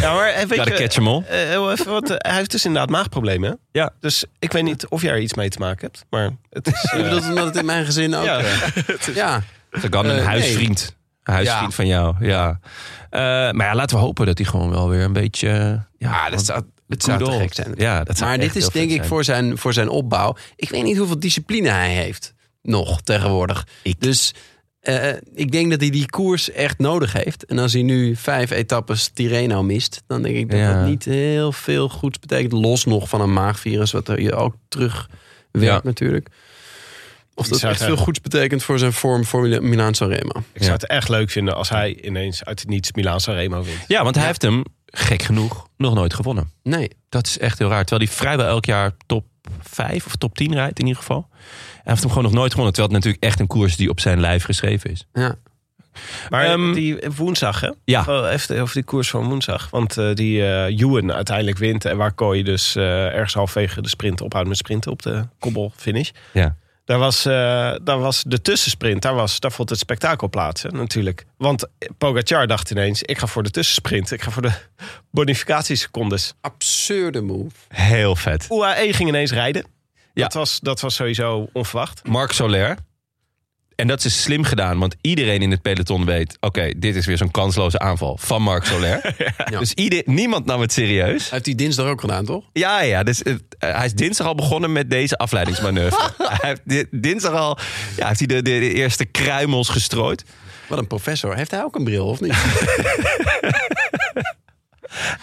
F: Ja, maar eh, weet
B: Ja, de
F: je,
B: catch 'em all.
F: eh, heel even wat, eh, hij heeft dus inderdaad maagproblemen. hè?
B: Ja.
F: Dus ik weet niet of jij er iets mee te maken hebt. Maar het is...
C: <laughs>
F: eh,
C: Ik bedoel, omdat het in mijn gezin ook...
F: Ja.
C: eh, ja.
B: Sagan,
C: Eh,
B: dus een
C: nee.
B: huisvriend. Een huisvriend
C: Ja.
B: van jou, ja. Eh, maar ja, laten we hopen dat hij gewoon wel weer een beetje... eh,
C: Ja, dat zou- dat zou te
B: kudos.
C: gek zijn.
B: Ja, dat zou
C: Maar
B: echt
C: dit is
B: heel vet
C: denk ik
B: zijn.
C: voor zijn, voor zijn opbouw. Ik weet niet hoeveel discipline hij heeft nog tegenwoordig. Dus eh, ik denk dat hij die koers echt nodig heeft. En als hij nu vijf etappes Tirreno mist... dan denk ik dat
B: Ja.
C: dat niet heel veel goeds betekent. Los nog van een maagvirus, wat er je ook terug werkt
B: Ja.
C: natuurlijk. Of dat
F: zou
C: echt
F: het
C: veel
F: hebben.
C: goeds betekent voor zijn vorm voor Mila- Milaan-San Remo.
F: Ik zou het echt leuk vinden als hij ineens uit het niets Milaan Sanremo wint.
B: Ja, want hij heeft hem, gek genoeg, nog nooit gewonnen.
C: Nee,
B: Dat is echt heel raar. Terwijl hij vrijwel elk jaar top 5 of top 10 rijdt in ieder geval. Hij heeft hem gewoon nog nooit gewonnen. Terwijl het natuurlijk echt een koers die op zijn lijf geschreven is.
C: ja.
F: Maar
B: Ehm,
F: die woensdag, hè?
B: Ja.
F: Wel Even over die koers van woensdag. Want eh, die eh Ewan uiteindelijk wint. En waar Kooi dus eh, ergens halfwege de sprint ophoudt met sprinten op de kobbelfinish.
B: Ja.
F: Daar was, eh, daar was de tussensprint. Daar, was, daar vond het spektakel plaats, hè, natuurlijk. Want Pogacar dacht ineens, ik ga voor de tussensprint. Ik ga voor de <laughs> bonificatiesecondes.
C: Absurde move.
B: Heel vet.
F: UAE E ging ineens rijden.
B: Ja.
F: Dat, was, dat was sowieso onverwacht.
B: Marc Soler. En dat is dus slim gedaan, want iedereen in het peloton weet... oké, dit is weer zo'n kansloze aanval van Marc Soler.
C: Ja.
B: Dus ieder, niemand nam het serieus.
C: Hij heeft die dinsdag ook gedaan, toch?
B: Ja, ja. Dus het- eh, hij is dinsdag al begonnen met deze afleidingsmanoeuvre. hij heeft di- dinsdag al ja, heeft hij de, de, de eerste kruimels gestrooid.
C: Wat een professor. Heeft hij ook een bril, of niet?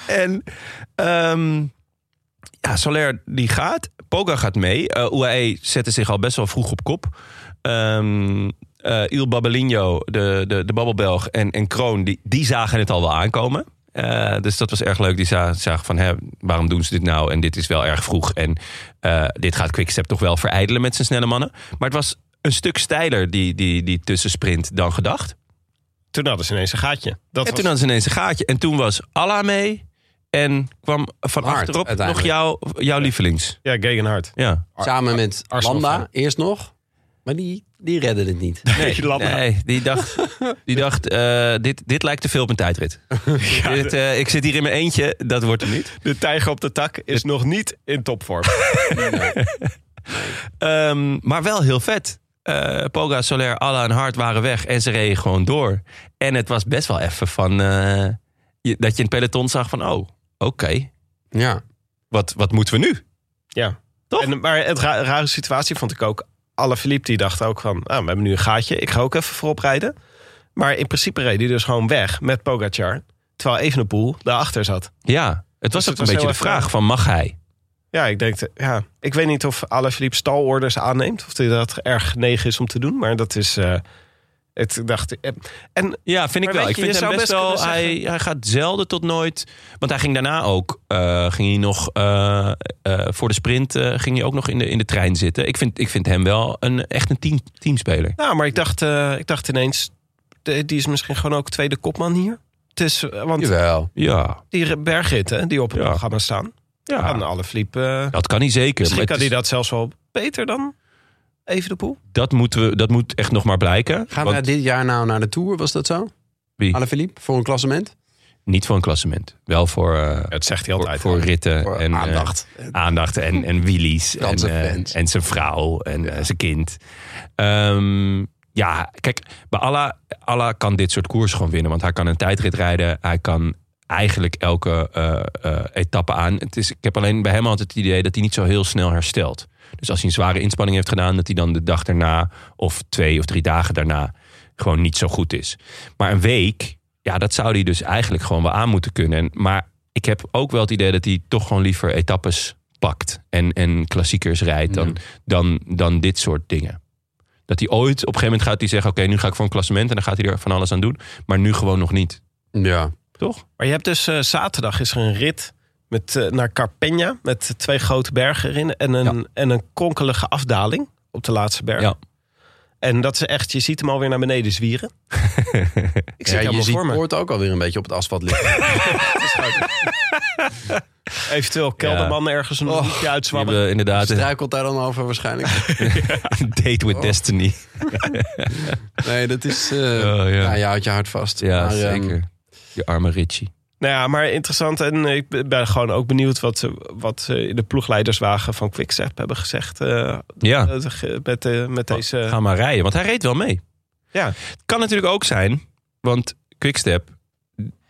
B: En ehm, ja, Soler die gaat. Poga gaat mee. Eh UAE zette zich al best wel vroeg op kop. Ehm eh, Il Babelinho, de, de, de Babbelbelg en, en Kroon, die, die zagen het al wel aankomen. Eh, dus dat was erg leuk. Die za- zagen van, hè, waarom doen ze dit nou? En dit is wel erg vroeg. En eh, dit gaat Quickstep toch wel verijdelen met zijn snelle mannen. Maar het was een stuk steiler, die, die, die tussensprint, dan gedacht.
F: Toen hadden ze ineens een gaatje. Dat
B: En
F: was
B: toen hadden ze ineens een gaatje. En toen was Alla mee. En kwam van
C: Hart,
B: achterop nog
C: uiteindelijk.
B: jouw, jouw lievelings.
F: ja, Gegenhard.
B: Ja.
C: Samen met
F: Arsenal
C: Landa,
F: fan.
C: eerst nog. Maar die, die redden het niet.
B: Nee, nee, die dacht, die dacht eh, dit, dit lijkt te veel op een
F: <laughs>
B: tijdrit. dit, eh, ik zit hier in mijn eentje, dat wordt hem niet.
F: De tijger op de tak is nog niet in topvorm.
B: Ehm, maar wel heel vet. Eh Poga, Soler, Alla en Hart waren weg en ze reden gewoon door. En het was best wel even van eh, je- dat je in het peloton zag van oh, oké,
C: <laughs> Ja.
B: wat, wat moeten we nu?
F: Ja.
B: Toch?
F: En, maar het ra- rare situatie vond ik ook. Alle Philippe die dacht ook van, ah, we hebben nu een gaatje. Ik ga ook even voorop rijden. Maar in principe reed hij dus gewoon weg met Pogacar. Terwijl Evenepoel daarachter zat.
B: Ja, het was ook
F: Dus het was
B: een
F: heel
B: beetje de
F: even-
B: vraag van mag hij?
F: Ja, ik denk, ja, ik weet niet of Alle Philippe stalorders aanneemt. Of hij dat erg negen is om te doen. Maar dat is, eh, het ik dacht eh, En
B: Ja, vind ik
F: Maar
B: wel.
F: weet
B: Ik
F: je,
B: vind
F: je
B: hem
F: zou
B: best
F: best
B: wel.
F: kunnen
B: Hij,
F: zeggen-
B: hij gaat zelden tot nooit. Want hij ging daarna ook. eh, ging hij nog eh, eh, voor de sprint. eh, ging hij ook nog in de, in de trein zitten. Ik vind, ik vind hem wel een, echt een team, teamspeler.
F: Nou, maar ik dacht, eh, ik dacht ineens, de- die is misschien gewoon ook tweede kopman hier. Het is, eh, want
C: Jawel.
B: Ja,
F: die bergritten die op het
B: Ja.
F: programma staan,
B: ja.
F: aan alle Philippe. eh,
B: dat kan hij zeker.
F: misschien
B: maar
F: kan
B: het
F: hij
B: is-
F: dat zelfs wel beter dan even de poel.
B: dat, moeten we, dat moet echt nog maar blijken.
C: Gaan
B: Want
C: we dit jaar nou naar de Tour, was dat zo?
B: Wie?
C: Alaphilippe, voor een klassement?
B: niet voor een klassement. Wel voor, eh,
F: Het zegt hij
B: voor,
F: altijd.
B: voor ritten.
C: Voor
B: en, eh,
C: aandacht.
B: aandacht en, en wheelies. En,
C: Franse
B: eh,
C: fans.
B: en zijn vrouw en eh, zijn kind. Ehm, ja, kijk, bij Alla, Alla kan dit soort koers gewoon winnen. Want hij kan een tijdrit rijden. Hij kan eigenlijk elke eh, eh, etappe aan. Het is, ik heb alleen bij hem altijd het idee dat hij niet zo heel snel herstelt. Dus als hij een zware inspanning heeft gedaan... dat hij dan de dag daarna of twee of drie dagen daarna... gewoon niet zo goed is. Maar een week, ja, dat zou hij dus eigenlijk gewoon wel aan moeten kunnen. En- Maar ik heb ook wel het idee dat hij toch gewoon liever etappes pakt en, en klassiekers rijdt dan, dan, dan dit soort dingen. Dat hij ooit op een gegeven moment gaat hij zeggen: Oké, nu ga ik voor een klassement. En dan gaat hij er van alles aan doen. Maar nu gewoon nog niet.
C: Ja.
B: Toch?
F: Maar je hebt dus eh, zaterdag is er een rit met, eh, naar Carpegna met twee grote bergen erin en een, en een konkelige afdaling op de laatste berg.
B: Ja.
F: En dat is echt, je ziet hem alweer naar beneden zwieren. Ik
C: ja
F: zie het
C: je
F: helemaal
C: ziet
F: voor me.
C: Poort ook alweer een beetje op het asfalt <laughs> liggen.
F: Eventueel Kelderman ergens een hoekje
B: Die
F: uitzwabben.
B: we inderdaad een
C: Struikelt daar dan over waarschijnlijk. <laughs>
B: date
F: Oh.
B: with destiny.
C: Nee, dat is... eh
B: ja.
C: ja. je houdt je hart vast.
B: Ja,
C: Maar, ehm,
B: zeker. Je arme Richie.
F: Nou ja, maar interessant. En eh, ik ben gewoon ook benieuwd wat, ze- wat ze in de ploegleiderswagen van Quickstep hebben gezegd. eh,
B: Ja.
F: eh, ge- met, eh, met deze...
B: Ga maar rijden, want hij reed wel mee.
F: Ja.
B: Het kan natuurlijk ook zijn, want Quickstep,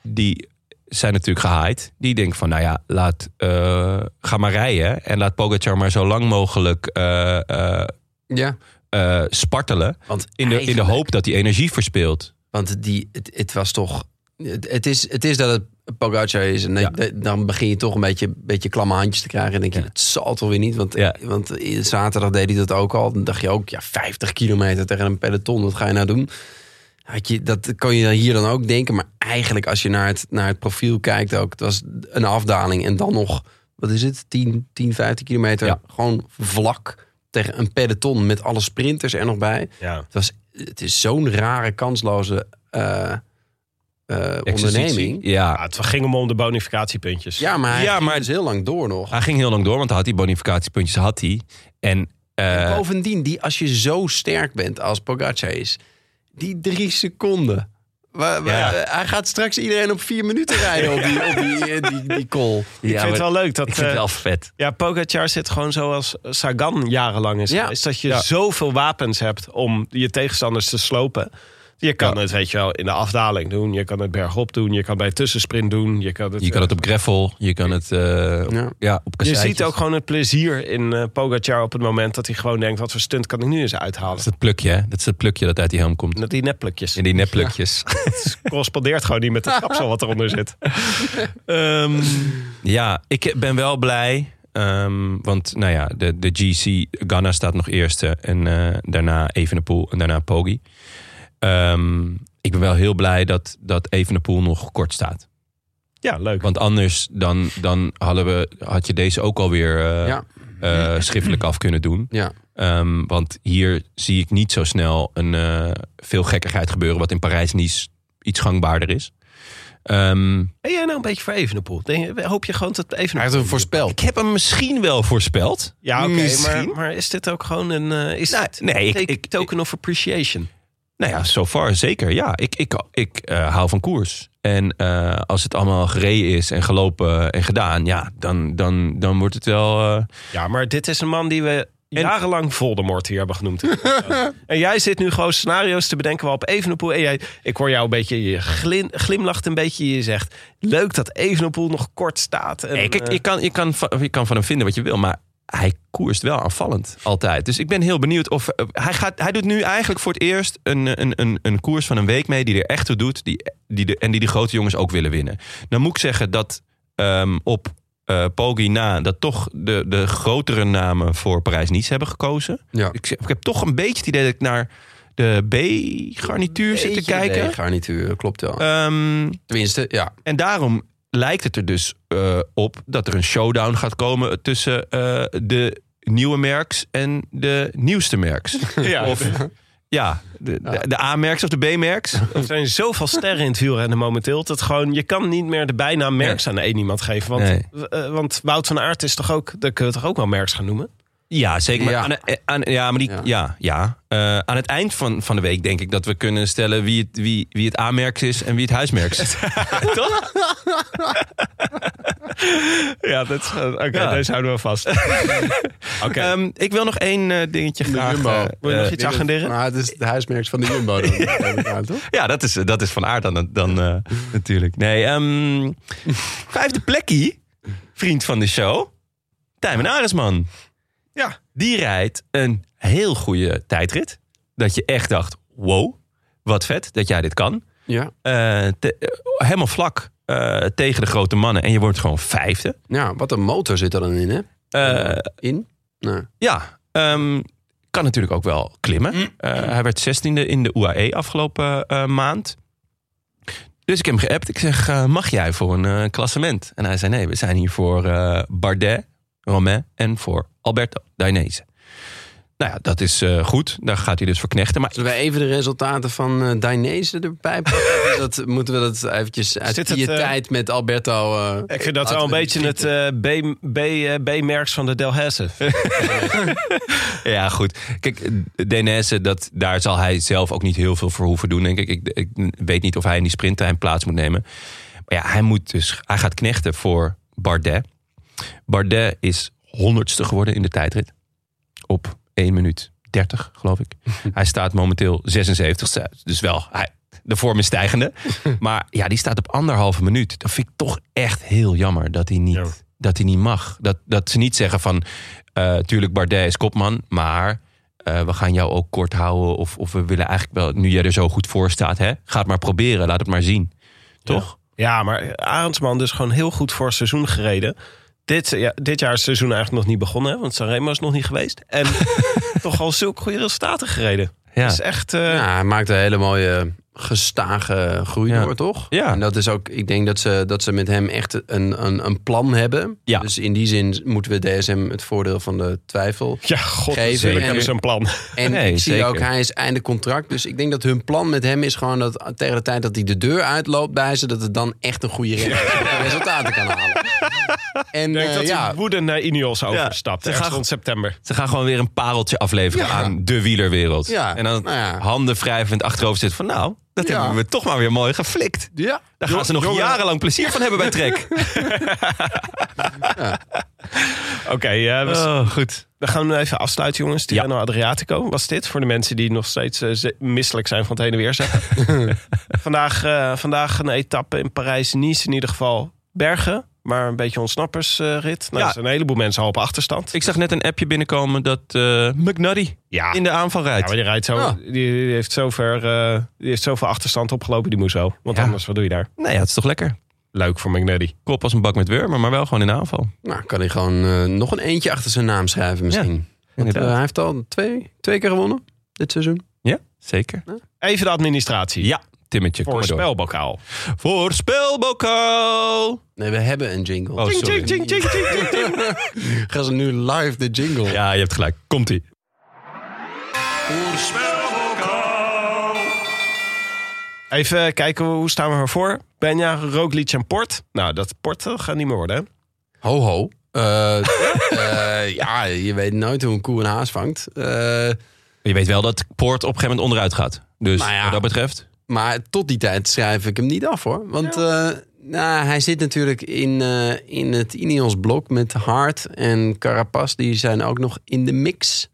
B: die zijn natuurlijk gehaaid. Die denken van, nou ja, laat, eh, ga maar rijden. En laat Pogacar maar zo lang mogelijk eh, eh,
C: Ja,
B: eh, spartelen.
C: want
B: In de, in de
C: eigenlijk-
B: hoop dat hij energie verspeelt.
C: Want die, het, het was toch... Het, het is, het is dat het Pogacar is. En
B: Ja.
C: de- dan begin je toch een beetje, beetje klamme handjes te krijgen. En denk je,
B: Ja.
C: het zal toch weer niet. Want,
B: Ja.
C: want zaterdag deed hij dat ook al. Dan dacht je ook, ja, 50 kilometer tegen een peloton. Wat ga je nou doen? Had je, dat kon je dan hier dan ook denken. Maar eigenlijk als je naar het, naar het profiel kijkt ook. Het was een afdaling. En dan nog, wat is het? 10, 10 15 kilometer.
B: Ja.
C: Gewoon vlak tegen een peloton met alle sprinters er nog bij.
F: Ja.
C: Het, was, het is zo'n rare, kansloze eh, eh, onderneming.
B: Exercitie. Ja.
F: Ja, het ging hem om de bonificatiepuntjes.
C: Ja, maar hij
B: Ja,
C: ja,
B: maar-
C: maar... heel lang door nog.
B: Hij ging heel lang door, want hij had die bonificatiepuntjes. Had hij. En eh,
C: Bovendien, die, als je zo sterk bent als Pogacar is, die drie seconden. Wa- wa- eh,
B: Ja.
C: Hij gaat straks iedereen op vier minuten rijden op die, op die, eh, die, die call.
F: ik vind het wel leuk dat...
B: ik vind het
F: eh,
B: wel vet.
F: Ja, Pogacar zit gewoon zoals Sagan jarenlang is.
C: Ja.
F: geweest. dat je
C: Ja.
F: zoveel wapens hebt om je tegenstanders te slopen. Je kan het, weet je wel, in de afdaling doen. Je kan het bergop doen. Je kan bij tussensprint doen. Je kan het, eh,
B: Je kan het op Greffel, je kan het eh, op- ja.
C: Ja.
B: op
F: je
B: kasseitjes.
F: ziet ook gewoon het plezier in eh Pogacar op het moment dat hij gewoon denkt... wat voor stunt kan ik nu eens
B: Dat
F: uithalen?
B: is het plukje, hè? Dat is het plukje dat uit die helm komt.
F: Met die nepplukjes.
B: In die nepplukjes.
F: Het correspondeert gewoon niet met het kapsel wat eronder
B: <laughs>
F: zit.
B: Ehm, <laughs> ja, ik ben wel blij. ehm, want nou ja, de, de GC, Ghana staat nog eerste. En eh, daarna Evenepoel en daarna Poggi. Ehm, ik ben wel heel blij dat, dat Evenepoel nog kort staat.
F: Ja, leuk.
B: Want anders dan, dan hadden we, had je deze ook alweer eh
C: Ja.
B: eh, schriftelijk af kunnen doen.
C: Ja.
B: Ehm, want hier zie ik niet zo snel een, eh, veel gekkigheid gebeuren... wat in Parijs-Nice iets gangbaarder is. Ehm,
F: Ben jij nou een beetje voor Evenepoel? Denk je- hoop je gewoon dat
C: Hij
F: Evenepoel...
C: heeft hem voorspeld.
B: ik heb hem misschien wel voorspeld.
F: Ja, oké, maar,
B: Misschien.
F: maar is dit ook gewoon een... eh, is
B: Nou,
F: het
B: nee, ik-
F: take-
B: ik-
F: token of appreciation?
B: Nou ja, so far zeker. Ja, ik, ik, ik eh, hou van koers. En eh, als het allemaal gereden is en gelopen en gedaan, ja, dan, dan, dan wordt het wel. eh,
F: Ja, maar dit is een man die we jarenlang Voldemort hier hebben
B: <laughs>
F: genoemd. en jij zit nu gewoon scenario's te bedenken wel op Evenepoel. En jij, ik hoor jou een beetje, je glin- glimlacht een beetje. Je zegt, leuk dat Evenepoel nog kort staat. En,
B: nee, kijk,
F: eh,
B: je kan, je, kan van, je kan van hem vinden wat je wil, maar hij koerst wel aanvallend altijd. Dus ik ben heel benieuwd of. eh, hij, gaat, hij doet nu eigenlijk voor het eerst een, een, een, een koers van een week mee die er echt toe doet. Die, die de, en die de grote jongens ook willen winnen. Dan moet ik zeggen dat ehm, op eh Poggi na dat toch de, de grotere namen voor Parijs-Nice hebben gekozen.
C: Ja.
B: Ik, zeg- ik heb toch een beetje het idee dat ik naar de B-garnituur zit te kijken.
C: Garnituur, eh, klopt wel.
B: Ehm,
C: Tenminste, ja.
B: en daarom lijkt het er dus eh, op dat er een showdown gaat komen tussen eh, de nieuwe merks en de nieuwste merks.
F: ja,
B: of ja, de, de, de A-merks of de B-merks.
F: er zijn zoveel sterren in het wielrennen momenteel. Dat gewoon, je kan niet meer de bijnaam Merks aan één iemand geven. Want,
B: Nee.
F: eh, want Wout van Aert is toch ook, dat kunnen we toch ook wel Merks gaan noemen?
B: <laughs> Ja, zeker. Maar
C: Ja.
B: Aan, eh, aan, ja, maar die, ja.
C: Ja.
B: Ja, Eh, aan het eind van, van de week denk ik dat we kunnen stellen wie het, wie, wie het A-merks is en wie het huismerks <laughs> is. Toch?
F: Ja, dat is, oké,
B: Ja.
F: deze houden we
B: <laughs>
F: vast. Oké.
B: Ehm, ik wil nog één eh, dingetje graag.
C: Jumbo.
B: eh,
F: Wil je nog
B: eh,
F: iets agenderen?
C: Maar het is de huismerks van de Jumbo.
F: <laughs>
C: Dan, ja. toch?
B: Ja, dat is, dat is van aard dan, dan eh, natuurlijk. Nee,
F: <laughs>
B: ehm, vijfde plekkie, vriend van de show, Tijmen Aresman.
F: Ja.
B: Die rijdt een heel goede tijdrit. Dat je echt dacht, wow, wat vet dat jij dit kan.
C: Ja.
B: Eh, te- eh, helemaal vlak eh, tegen de grote mannen en je wordt gewoon vijfde.
C: ja, wat een motor zit er dan in, hè?
B: Eh,
C: in? Nou,
B: ja, ehm, kan natuurlijk ook wel klimmen.
F: Mm.
B: Eh, hij werd 16e in de UAE afgelopen eh, maand. Dus ik heb hem geappt. Ik zeg, eh, mag jij voor een eh, klassement? En hij zei, nee, we zijn hier voor eh, Bardet, Romain en voor Alberto Dainese. Nou ja, dat is eh, goed. Daar gaat hij dus voor knechten. Maar
C: Zullen we even de resultaten van eh Dainese erbij pakken?
F: <laughs>
C: dat, moeten we dat eventjes uit
F: Zit
C: die
F: het, eh,
C: tijd met Alberto... eh,
F: Ik vind dat wel een
C: laten we
F: beetje het
C: schieten.
F: eh, B- B- eh, B-merks van de Delhaize.
B: Ja, goed. Kijk, Denese, dat daar zal hij zelf ook niet heel veel voor hoeven doen, denk ik. Ik, ik weet niet of hij in die sprinttime plaats moet nemen. Maar ja, hij, moet dus, hij gaat knechten voor Bardet. Bardet is honderdste geworden in de tijdrit. Op 1 minuut 30, geloof <laughs> ik. hij staat momenteel 76ste. Dus wel, hij, de vorm is <laughs> stijgende. maar ja, die staat op anderhalve minuut. Dat vind ik toch echt heel jammer dat hij niet,
F: Ja.
B: dat hij niet mag. Dat, dat ze niet zeggen van... eh tuurlijk, Bardet is kopman, maar eh, we gaan jou ook kort houden. Of, of we willen eigenlijk wel, nu jij er zo goed voor staat, hè, ga het maar proberen, laat het maar zien. Toch?
F: Ja, maar Arendsman dus gewoon heel goed voor het seizoen gereden. Dit, ja, dit jaar is het seizoen eigenlijk nog niet begonnen, hè, want Sanremo is nog niet geweest.
B: <laughs>
F: En toch al zulke goede resultaten gereden.
B: Ja.
F: Dat is echt... eh,
C: Ja, hij maakt een hele mooie gestage groei
B: Ja.
C: door, toch?
B: Ja.
C: En dat is ook, ik denk dat ze, dat ze met hem echt een, een, een plan hebben.
B: Ja.
C: Dus in die zin moeten we DSM het voordeel van de twijfel
F: Ja, god,
C: Geven
F: natuurlijk
C: en-
F: hebben ze een plan.
C: En
B: Nee,
C: ik zie
B: zeker.
C: ook, hij is einde contract. Dus ik denk dat hun plan met hem is gewoon dat tegen de tijd dat hij de deur uitloopt bij ze, dat het dan echt een goede renner is en <laughs> resultaten kan halen. En
F: Ik denk
C: eh,
F: dat
C: ja,
F: hij woedend naar Ineos overstapt.
B: ze
F: Ja,
B: gaan-
F: rond september.
B: Ze gaan gewoon weer een pareltje afleveren
C: Ja.
B: aan de wielerwereld.
C: Ja,
B: En dan
C: nou ja.
B: handen wrijvend achterhoofd zitten van nou, dat
C: Ja.
B: hebben we toch maar weer mooi geflikt.
C: ja,
B: Daar gaan ze nog jarenlang plezier van hebben bij Trek.
F: Oké, eh, we,
B: <laughs> oh, goed.
F: we gaan hem even afsluiten, jongens.
B: Ja.
F: Tirreno Adriatico was dit. Voor de mensen die nog steeds eh, ze- misselijk zijn van het heen en weer zeggen.
B: <laughs>
F: vandaag, eh, vandaag een etappe in Parijs-Nice in ieder geval. Bergen, maar een beetje ontsnappersrit. nou,
B: Ja.
F: er zijn een heleboel mensen al op achterstand.
B: Ik zag net een appje binnenkomen dat eh McNuddy
F: Ja.
B: in de aanval
F: Ja,
B: rijdt.
F: maar die, rijdt zo,
C: Ja.
F: die, die heeft zover, eh, die heeft zoveel achterstand opgelopen, die moest zo. Want
B: Ja.
F: anders, wat doe je daar?
B: nou ja, het is toch lekker.
F: Leuk voor McNally.
B: Kop als een bak met wurmen, maar wel gewoon in de aanval.
C: nou kan hij gewoon eh, nog een eentje achter zijn naam schrijven misschien. Want, eh,
B: inderdaad.
C: hij heeft al twee, twee keer gewonnen dit seizoen.
B: Ja, zeker.
F: Even de administratie.
B: Ja, Timmetje, kom
F: Voor een
B: maar door.
F: spelbokaal.
B: Voorspelbokaal.
C: Nee, we hebben een jingle.
B: Oh, Ting, sorry. ting,
C: <laughs> Gaan ze nu live de jingle?
B: Ja, je hebt gelijk. Komt-ie.
F: Even kijken hoe staan we ervoor. Benja, Roglic en Port. Nou, dat Port eh, gaat niet meer worden. hè?
C: Ho, ho. Eh, eh, ja, je weet nooit hoe een koe een haas vangt. Eh,
B: Je weet wel dat Poort op een gegeven moment onderuit gaat. Dus
C: Nou ja.
B: wat dat betreft.
C: maar tot die tijd schrijf ik hem niet af hoor. Want eh, nou, hij zit natuurlijk in, eh, in het Ineos-blok met Hart en Carapaz. Die zijn ook nog in de mix.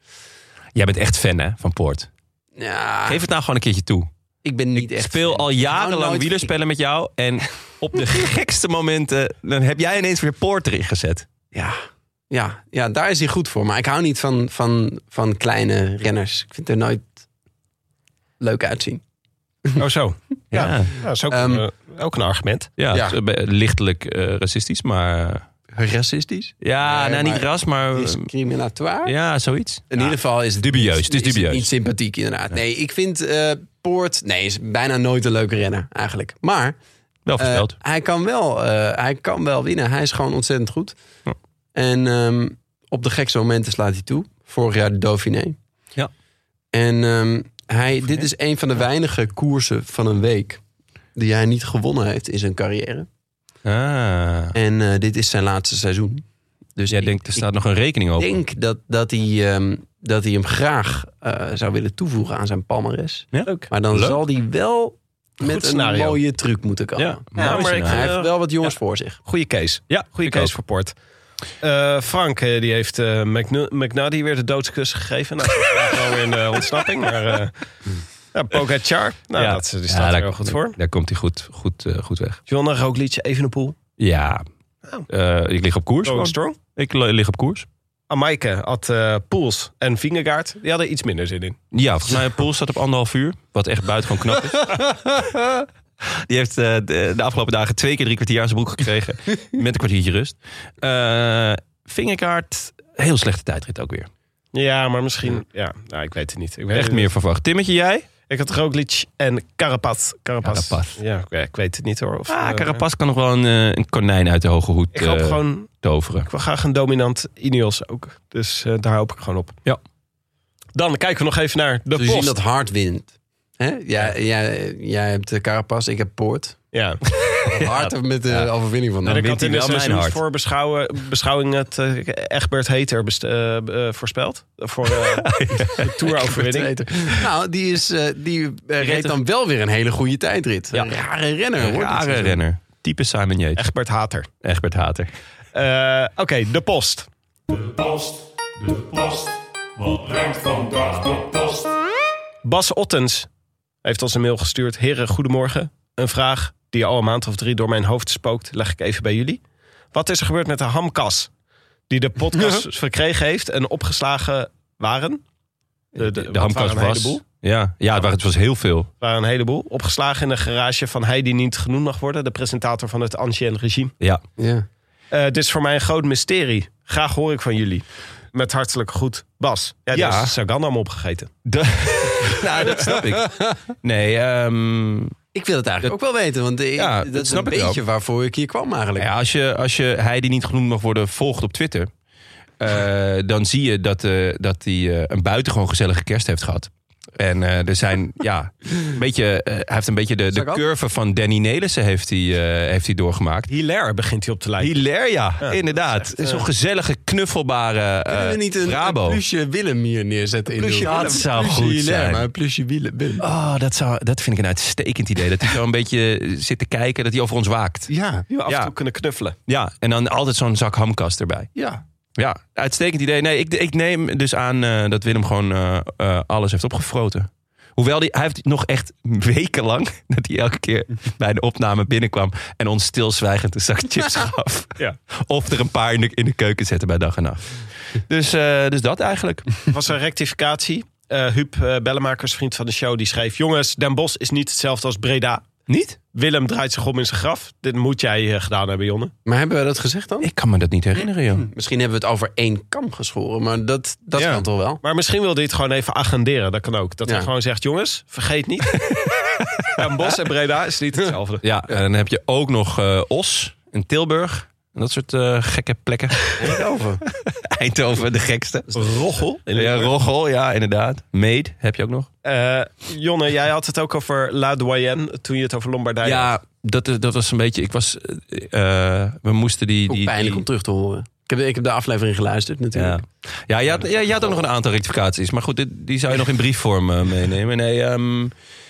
B: Jij bent echt fan hè, van Poort.
C: Ja,
B: Geef het nou gewoon een keertje toe.
C: ik ben niet echt...
B: speel
C: fan.
B: al
C: Ik hou
B: jarenlang
C: nooit-
B: wielerspellen met jou.
C: <laughs>
B: En op de gekste momenten dan heb jij ineens weer Poort erin gezet.
C: Ja, ja, ja, daar is hij goed voor. Maar ik hou niet van, van, van kleine renners. Ik vind er nooit leuk uitzien.
F: Oh, zo. Ja.
B: Ja,
F: Ja, dat is ook,
C: Ehm,
F: eh, ook een argument.
B: ja,
C: Ja.
B: het is, eh, lichtelijk eh, racistisch, maar...
C: Racistisch?
B: Ja,
C: Nee,
B: nou niet
C: maar-
B: ras, maar...
C: Discriminatoire?
B: Ja, zoiets.
C: Ehm, In ieder geval is het
B: Dubieus,
C: niet-
B: het is dubieus.
C: niet sympathiek, inderdaad. Nee, ik vind eh, Poort. Nee, is bijna nooit een leuke renner eigenlijk. Maar
B: Wel
C: eh,
B: verteld.
C: hij, kan wel, eh, hij kan wel winnen. Hij is gewoon ontzettend goed. En ehm, op de gekste momenten slaat hij toe. Vorig jaar de Dauphiné.
B: Ja.
C: En ehm, hij, dit is een van de weinige koersen van een week die hij niet gewonnen heeft in zijn carrière.
B: ah.
C: En eh, dit is zijn laatste seizoen. Dus
B: Jij
C: ik-
B: denkt, er
C: ik-
B: staat nog een rekening
C: ik
B: open.
C: denk dat, dat, hij, ehm, dat hij hem graag eh, zou willen toevoegen aan zijn palmares.
B: Ja?
C: Maar dan
B: Leuk.
C: zal hij wel met een
F: scenario.
C: mooie truc moeten komen.
B: Ja,
F: Ja,
B: mooi
F: maar ik-
B: scenario.
C: Hij
F: eh,
C: heeft wel wat jongens voor zich.
F: Goeie case.
B: Ja,
F: Goeie
B: ik
F: case
B: ook.
F: voor Port. Eh, Frank, eh, die heeft eh McNu- McNuddy weer de doodskus gegeven. Nou, dat is vandaag wel weer in eh, ontsnapping. Maar eh ja, Pogacar, nou, dat, die staat er
B: daar-
F: heel goed voor.
B: Daar komt hij goed, goed, eh, goed weg.
F: John Roglic, Evenepoel.
B: Ja.
F: Oh.
B: Eh, ik lig op koers.
F: Rolling
B: gewoon.
F: Strong.
B: Ik li- lig op koers.
F: Amaike had eh Poels en Vingegaard. Die hadden iets minder zin in.
B: Ja, volgens mij Poel staat op anderhalf uur. Wat echt buitengewoon knap is. <laughs> Die heeft eh, de, de afgelopen dagen twee keer drie kwartier aan zijn broek gekregen. met een kwartiertje rust. Eh Vingerkaart, heel slechte tijdrit ook weer.
F: Ja, maar misschien... Ja, nou, ik weet het niet. Ik weet
B: Echt
F: het
B: meer verwacht. Timmetje, jij?
F: Ik had Roglic en Carapaz. Carapaz.
B: Carapaz.
F: Ja, ik- ik weet het niet hoor. Of,
B: Ah,
F: eh,
B: Carapaz kan nog wel een, eh, een konijn uit de hoge hoed
F: Ik hoop
B: eh,
F: gewoon...
B: toveren.
F: Ik wil graag een dominant Ineos ook. Dus eh, daar hoop ik gewoon op.
B: Ja.
F: Dan kijken we nog even naar de
C: We zien
F: post.
C: dat hard wint. Hè? Ja, jij, jij hebt de Carapas, ik heb
B: <laughs>
C: Poort.
F: Ja.
C: Hard met de overwinning van
F: En ik
C: hem.
F: had in de
B: wel mijn hart.
F: seizoensvoorbeschouwing beschouwing het eh, Egbert Heter best- eh, eh, voorspeld.
B: <laughs>
F: Voor eh, de Tour-overwinning.
C: Nou, die, is, eh, die eh, reed
B: reed
C: dan wel weer een hele goede tijdrit.
B: Ja.
C: Een rare renner.
B: Een
C: hoor, dit
B: rare
C: seizoen.
B: renner. Type Simon Yates.
F: Egbert Hater.
B: Egbert Hater.
F: Eh, Oké, de post.
G: post, de post. Wat brengt vandaag de post?
F: Bas Ottens heeft ons een mail gestuurd. Heren, goedemorgen. Een vraag die al een maand of drie door mijn hoofd spookt, leg ik even bij jullie. Wat is er gebeurd met de hamkas die de podcast verkregen heeft en opgeslagen waren? De, de,
B: De hamkast
F: waren een
B: was.
F: heleboel.
B: Ja, ja het, waren, het was heel veel.
F: waren een heleboel. Opgeslagen in de garage van hij die niet genoemd mag worden. De presentator van het Ancien regime.
B: Ja.
C: Ja.
F: Eh, dit is voor mij een groot mysterie. Graag hoor ik van jullie. Met hartelijk goed, Bas. Ja, die
B: Ja.
F: is Sagan allemaal opgegeten.
B: De- nou, dat snap ik. Nee, ehm,
C: Ik wil het eigenlijk ook wel weten, want eh,
B: Ja,
C: dat
B: dat
C: is
B: snap
C: een
B: ik
C: beetje waarvoor ik hier kwam eigenlijk.
B: ja, als, je, als je hij die niet genoemd mag worden volgt op Twitter... eh, dan zie je dat eh, dat hij eh, een buitengewoon gezellige kerst heeft gehad. En eh, er
F: <laughs>
B: zijn, ja, een beetje, eh, hij heeft een beetje de, de
C: Sagan?
B: curve van Danny Nelissen heeft hij, eh, heeft hij doorgemaakt.
F: Hilaire begint hij op te lijken.
B: Hilaria, inderdaad.
F: eh,
B: Zo'n gezellige, knuffelbare eh
C: Kunnen we niet een,
B: Brabo.
C: een plusje Willem hier neerzetten? in
B: Plusje
C: de hoek?
B: Willem. Dat zou
C: Plusje
B: goed
C: Hilaire,
B: zijn.
C: Maar een plusje Willem. Willem.
B: Oh, dat, zou, dat vind ik een uitstekend idee. Dat hij zo een beetje zit te kijken, dat hij over ons waakt.
C: Ja,
F: Die we af en
B: Ja.
F: toe kunnen knuffelen.
B: Ja, en dan altijd zo'n zak hamkast erbij.
C: ja.
B: Ja, uitstekend idee. Nee, ik, ik neem dus aan eh, dat Willem gewoon eh, eh, alles heeft opgefroten. Hoewel die, hij heeft nog echt wekenlang <laughs> dat hij elke keer bij de opname binnenkwam en ons stilzwijgend een zak chips gaf.
F: Ja.
B: Of er een paar in de, in de keuken zetten bij dag en nacht. Dus, eh, dus dat eigenlijk.
F: Het was een rectificatie. Eh Huub eh, Bellemakers, vriend van de show, die schreef... Jongens, Den Bosch is niet hetzelfde als Breda.
B: Niet?
F: Willem draait zich om in zijn graf. Dit moet jij eh, gedaan hebben, Jonne.
C: Maar hebben we dat gezegd dan?
B: Ik kan me dat niet herinneren, joh.
C: Misschien hebben we het over één kam geschoren, maar dat, dat
F: Ja.
C: kan toch wel?
F: Maar misschien wil dit gewoon even agenderen. Dat kan ook. Dat
C: Ja.
F: hij gewoon zegt, jongens, vergeet niet. Den Bosch en Breda is niet hetzelfde.
B: <laughs> Ja, en dan heb je ook nog eh, Os en Tilburg. En dat soort eh, gekke plekken.
C: Eindhoven.
B: Eindhoven, de gekste.
F: Roggel.
B: Ja, Roggel, ja, inderdaad. Mead heb je ook nog.
F: Eh, Jonne, jij had het ook over La Doyenne toen je het over Lombardije had.
B: Ja, dat, dat was een beetje. Ik was. eh, eh, we moesten die.
C: Ook
B: die,
C: pijnlijk om
B: die-
C: terug te horen. Ik heb, ik heb de aflevering geluisterd
B: ja.
C: natuurlijk.
B: Ja, je had, ja, je had ook nog een aantal rectificaties. Maar goed, dit- die zou je nog in briefvorm eh, meenemen. Nee, ehm,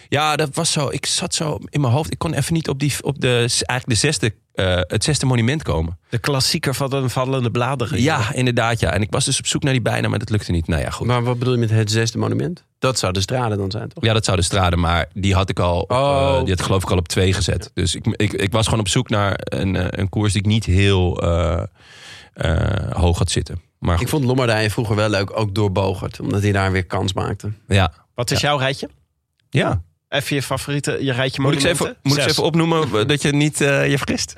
B: ja, dat was zo. Ik zat zo in mijn hoofd. Ik kon even niet op, die, op de, eigenlijk de zesde, eh, het zesde monument komen.
F: De klassieker van de vallende bladeren.
B: Ja, inderdaad. Ja. En ik was dus op zoek naar die bijna, maar dat lukte niet. Nou ja, goed.
C: Maar wat bedoel je met het zesde monument? Dat zou de strade dan zijn, toch?
B: Ja, dat zou de straden, maar die had ik al. op,
C: Oh.
B: eh, die had ik geloof ik al op twee gezet. Dus ik, ik, ik was gewoon op zoek naar een, eh, een koers die ik niet heel eh, eh, hoog had zitten. Maar
C: Ik
B: goed,
C: vond Lombardije vroeger wel leuk, ook door Bogert. Omdat hij daar weer kans maakte.
B: ja.
F: Wat is jouw rijtje?
B: ja.
F: Even je favoriete, je rijtje
B: Moet ik ze
F: monumenten?
B: even, moet ik ze
F: Zes.
B: even opnoemen eh, dat je niet eh, je vergist?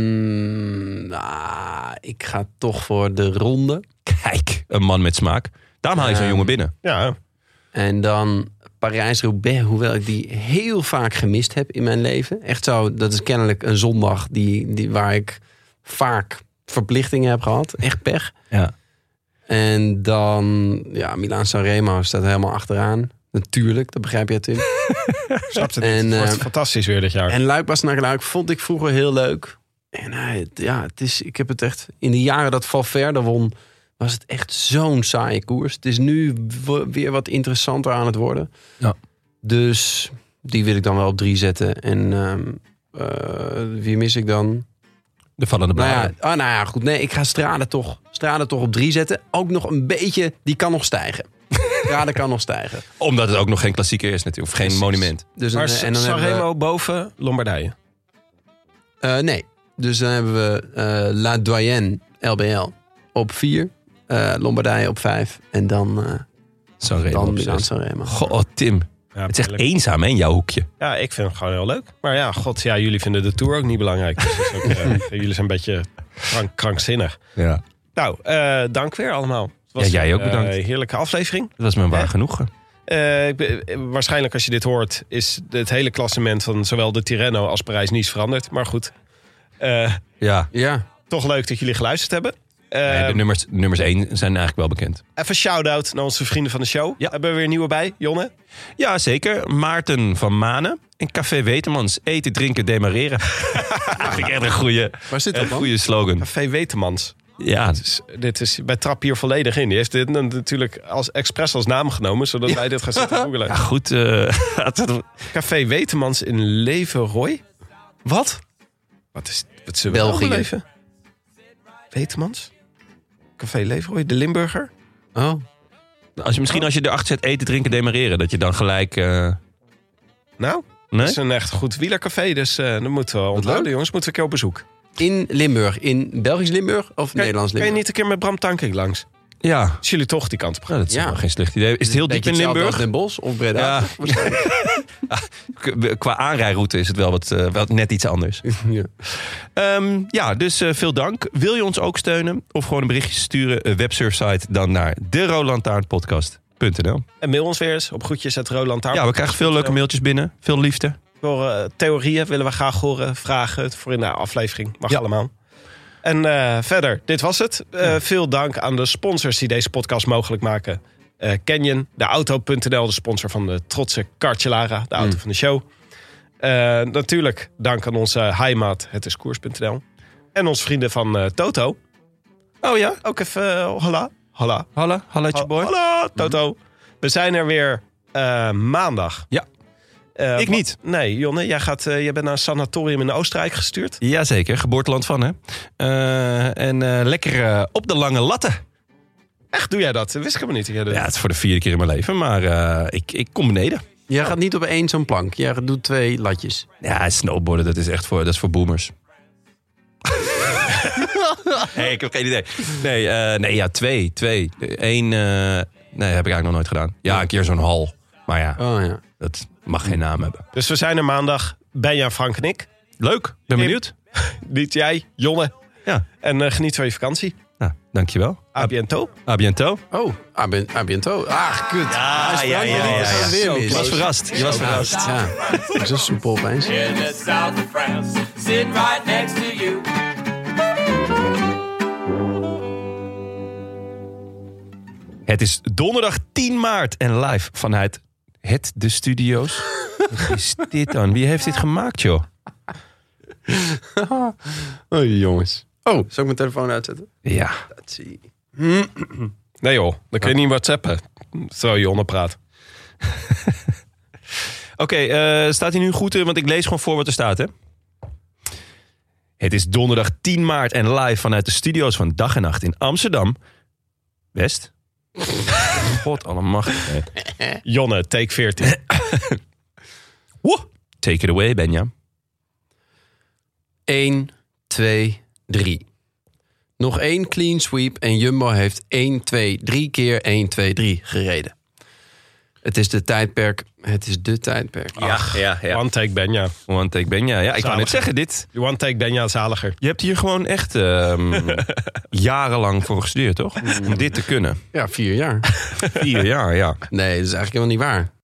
C: Ehm, ah, ik ga toch voor de ronde.
B: Kijk, een man met smaak. Daarom haal ik zo'n
C: Ehm,
B: jongen binnen.
F: Ja,
C: En dan Parijs-Roubaix, hoewel ik die heel vaak gemist heb in mijn leven. Echt zo, dat is kennelijk een zondag die, die, waar ik vaak verplichtingen heb gehad. Echt pech.
B: Ja.
C: En dan, ja, Milaan Sanremo staat helemaal achteraan. Natuurlijk, dat begrijp jij, Tim.
F: snap het.
C: En,
F: Het wordt
C: eh,
F: fantastisch weer dit jaar.
C: en Luik was naar Luik vond ik vroeger heel leuk. En hij, ja, het is, ik heb het echt... In de jaren dat Valverde won, was het echt zo'n saaie koers. Het is nu w- weer wat interessanter aan het worden.
B: Ja.
C: Dus die wil ik dan wel op drie zetten. En ehm, eh, wie mis ik dan?
B: De vallende
C: Nou ja,
B: bladen.
C: oh, nou ja, goed. Nee, ik ga Strade toch, Strade toch op drie zetten. Ook nog een beetje, die kan nog stijgen. Strade kan nog stijgen.
B: Omdat het ook nog geen klassieker is natuurlijk. Of geen
C: Precies.
B: monument.
C: Dus
F: maar
C: dan, en dan hebben we-
F: Sanremo boven Lombardije.
C: Eh, nee. Dus dan hebben we eh, La Doyenne LBL op 4. Lombardije op 5. En dan, eh
B: Zo'n
C: dan
B: reden.
C: Milaan Sanremo.
B: Goh, oh, Tim.
F: Ja,
B: Het is echt
F: heerlijk.
B: eenzaam hè, in jouw hoekje.
F: Ja, ik vind het gewoon heel leuk. Maar ja, god, ja, jullie vinden de Tour ook niet belangrijk. Dus dat is
B: <laughs>
F: ook, eh, jullie zijn een beetje krank, krankzinnig.
B: Ja.
F: Nou, eh, dank weer allemaal. Het was was
B: Ja, jij ook
F: een,
B: bedankt.
F: eh, heerlijke aflevering.
B: Dat was mijn waar
F: Ja.
B: genoegen.
F: Eh, ik be- eh, waarschijnlijk als je dit hoort is het hele klassement van zowel de Tirreno als Parijs niet veranderd. Maar goed, Eh,
B: Ja.
C: Ja,
F: toch leuk dat jullie geluisterd hebben. Eh,
B: de nummers, de nummers 1 zijn eigenlijk wel bekend.
F: Even shout-out naar onze vrienden van de show.
B: Ja.
F: Hebben we weer nieuwe bij, Jonne?
B: Ja, zeker. Maarten van Manen en Café Wetemans. Eten, drinken,
C: <laughs>
B: demareren. dat vind ik echt een goede,
C: waar zit dat
B: een
C: dan?
B: goede slogan.
F: Café Wetemans.
B: Ja,
F: Dus dit is bij Trap hier volledig in. Die heeft dit dan natuurlijk als, expres als naam genomen, zodat wij dit gaan zitten <laughs> googelen.
B: ja goed. eh, <laughs> dat-
F: Café Wetemans in Leverooy. Wat? Wat is wat ze wel
C: België.
F: beleven? Wetemans? Café Leverooy, de Limburger?
C: Oh,
B: als je, misschien als je erachter zet eten, drinken, demareren. Dat je dan gelijk... eh,
F: Nou,
B: nee?
F: het is een echt goed wielercafé, dus eh dan moeten we onthouden,
C: leuk.
F: jongens. Moeten we een keer op bezoek. Kan
C: in Limburg. In Belgisch Limburg of
F: je-
C: Nederlands
F: Kan je
C: Limburg?
F: niet een keer met Bram Tankink langs?
B: Ja.
F: Als jullie toch die kant op gaan.
B: Nou, dat is
C: Ja.
B: wel geen slecht idee. Is het heel
C: Beetje
B: diep in
C: hetzelfde
B: Limburg?
C: als Den Bosch of Breda?
B: Ja. K- Qua aanrijroute is het wel wat, eh, wat net iets anders.
C: <laughs> Ja.
B: Ehm, ja, dus eh, veel dank. Wil je ons ook steunen of gewoon een berichtje sturen? eh, websurfsite dan naar de
F: En mail ons weer eens op groetjes uit Roland Taart.
B: Ja, we krijgen veel leuke mailtjes binnen. Veel liefde.
F: Voor eh, theorieën willen we graag horen. Vragen voor in de aflevering. Mag
B: Ja.
F: allemaal. En eh, verder, dit was het. Eh, Veel dank aan de sponsors die deze podcast mogelijk maken. Eh, Canyon, de auto.nl, de sponsor van de trotse Cartelara, de auto van de show. Eh, natuurlijk dank aan onze heimaat, het is koers.nl. En onze vrienden van eh, Toto. Oh ja? Ook even eh, hola. Hola.
B: Hallo, halletje boy.
F: Hallo, Toto. Mhm. We zijn er weer eh, maandag.
B: Ja.
F: Eh,
B: Ik
F: wa-
B: niet.
F: Nee, Jonne, jij, gaat, eh, jij bent naar een sanatorium in Oostenrijk gestuurd.
B: Jazeker, geboorteland van hè. Eh, en eh, lekker eh, op de lange latten.
F: Echt, doe jij dat? Dat wist ik helemaal niet. dat jij dat-
B: Ja, het is voor de vierde keer in mijn leven, maar eh, ik, ik kom beneden.
C: Jij gaat niet op één zo'n plank. Jij doet twee latjes.
B: Ja, snowboarden, dat is echt voor, dat is voor boomers. <laughs> nee, ik heb geen idee. Nee, eh, nee ja, twee. Twee. Eén, eh, nee, heb ik eigenlijk nog nooit gedaan. Ja, een keer zo'n hal. Maar ja,
C: Oh ja.
B: dat mag geen naam hebben.
F: Dus we zijn er maandag. Benja, Frank en ik.
B: Leuk, ben benieuwd.
F: Niet jij, Jonne.
B: Ja.
F: En eh, geniet van je vakantie.
B: Nou, dankjewel.
F: A biento.
B: A biento.
C: Oh, ah, ben, ah, bientôt. Ah, kut. Ja,
B: ja, ja, ja, ja.
C: Weer
B: Je
C: mis.
B: was verrast. Je was verrast.
C: Ja, dat is een soepel opeens.
E: in the south of France, sitting right next to you.
B: Het is donderdag 10 maart en live vanuit het de
F: <laughs>
B: studio's. Wat is dit dan? Wie heeft dit gemaakt, joh?
C: Oh, jongens. Oh, zal ik mijn telefoon uitzetten?
B: Ja.
C: Let's see.
F: Nee joh, dan kun je niet whatsappen. Zo, Jonne praat.
B: <laughs> Oké, eh, staat hij nu goed? eh, Want ik lees gewoon voor wat er staat, hè? Het is donderdag 10 maart en live vanuit de studio's van Dag en Nacht in Amsterdam. West? <laughs> God allemachtig. <laughs> hè.
F: Jonne, take
B: <laughs>
F: 14.
B: Woe! Take it away, Benja.
C: 1, 2, 3. Nog één clean sweep en Jumbo heeft 1, 2, 3 keer 1, 2, 3 gereden. Het is de tijdperk. Het is de tijdperk.
B: ja,
F: One take Benja.
B: One take Benja. Ja, ik wou net
F: Zalig.
B: zeggen, dit.
F: One take Benja zaliger.
B: Je hebt hier gewoon echt ehm, jarenlang voor gestudeerd, toch? Om dit te kunnen.
C: ja, vier jaar.
B: Vier jaar, ja.
C: Nee, dat is eigenlijk helemaal niet waar.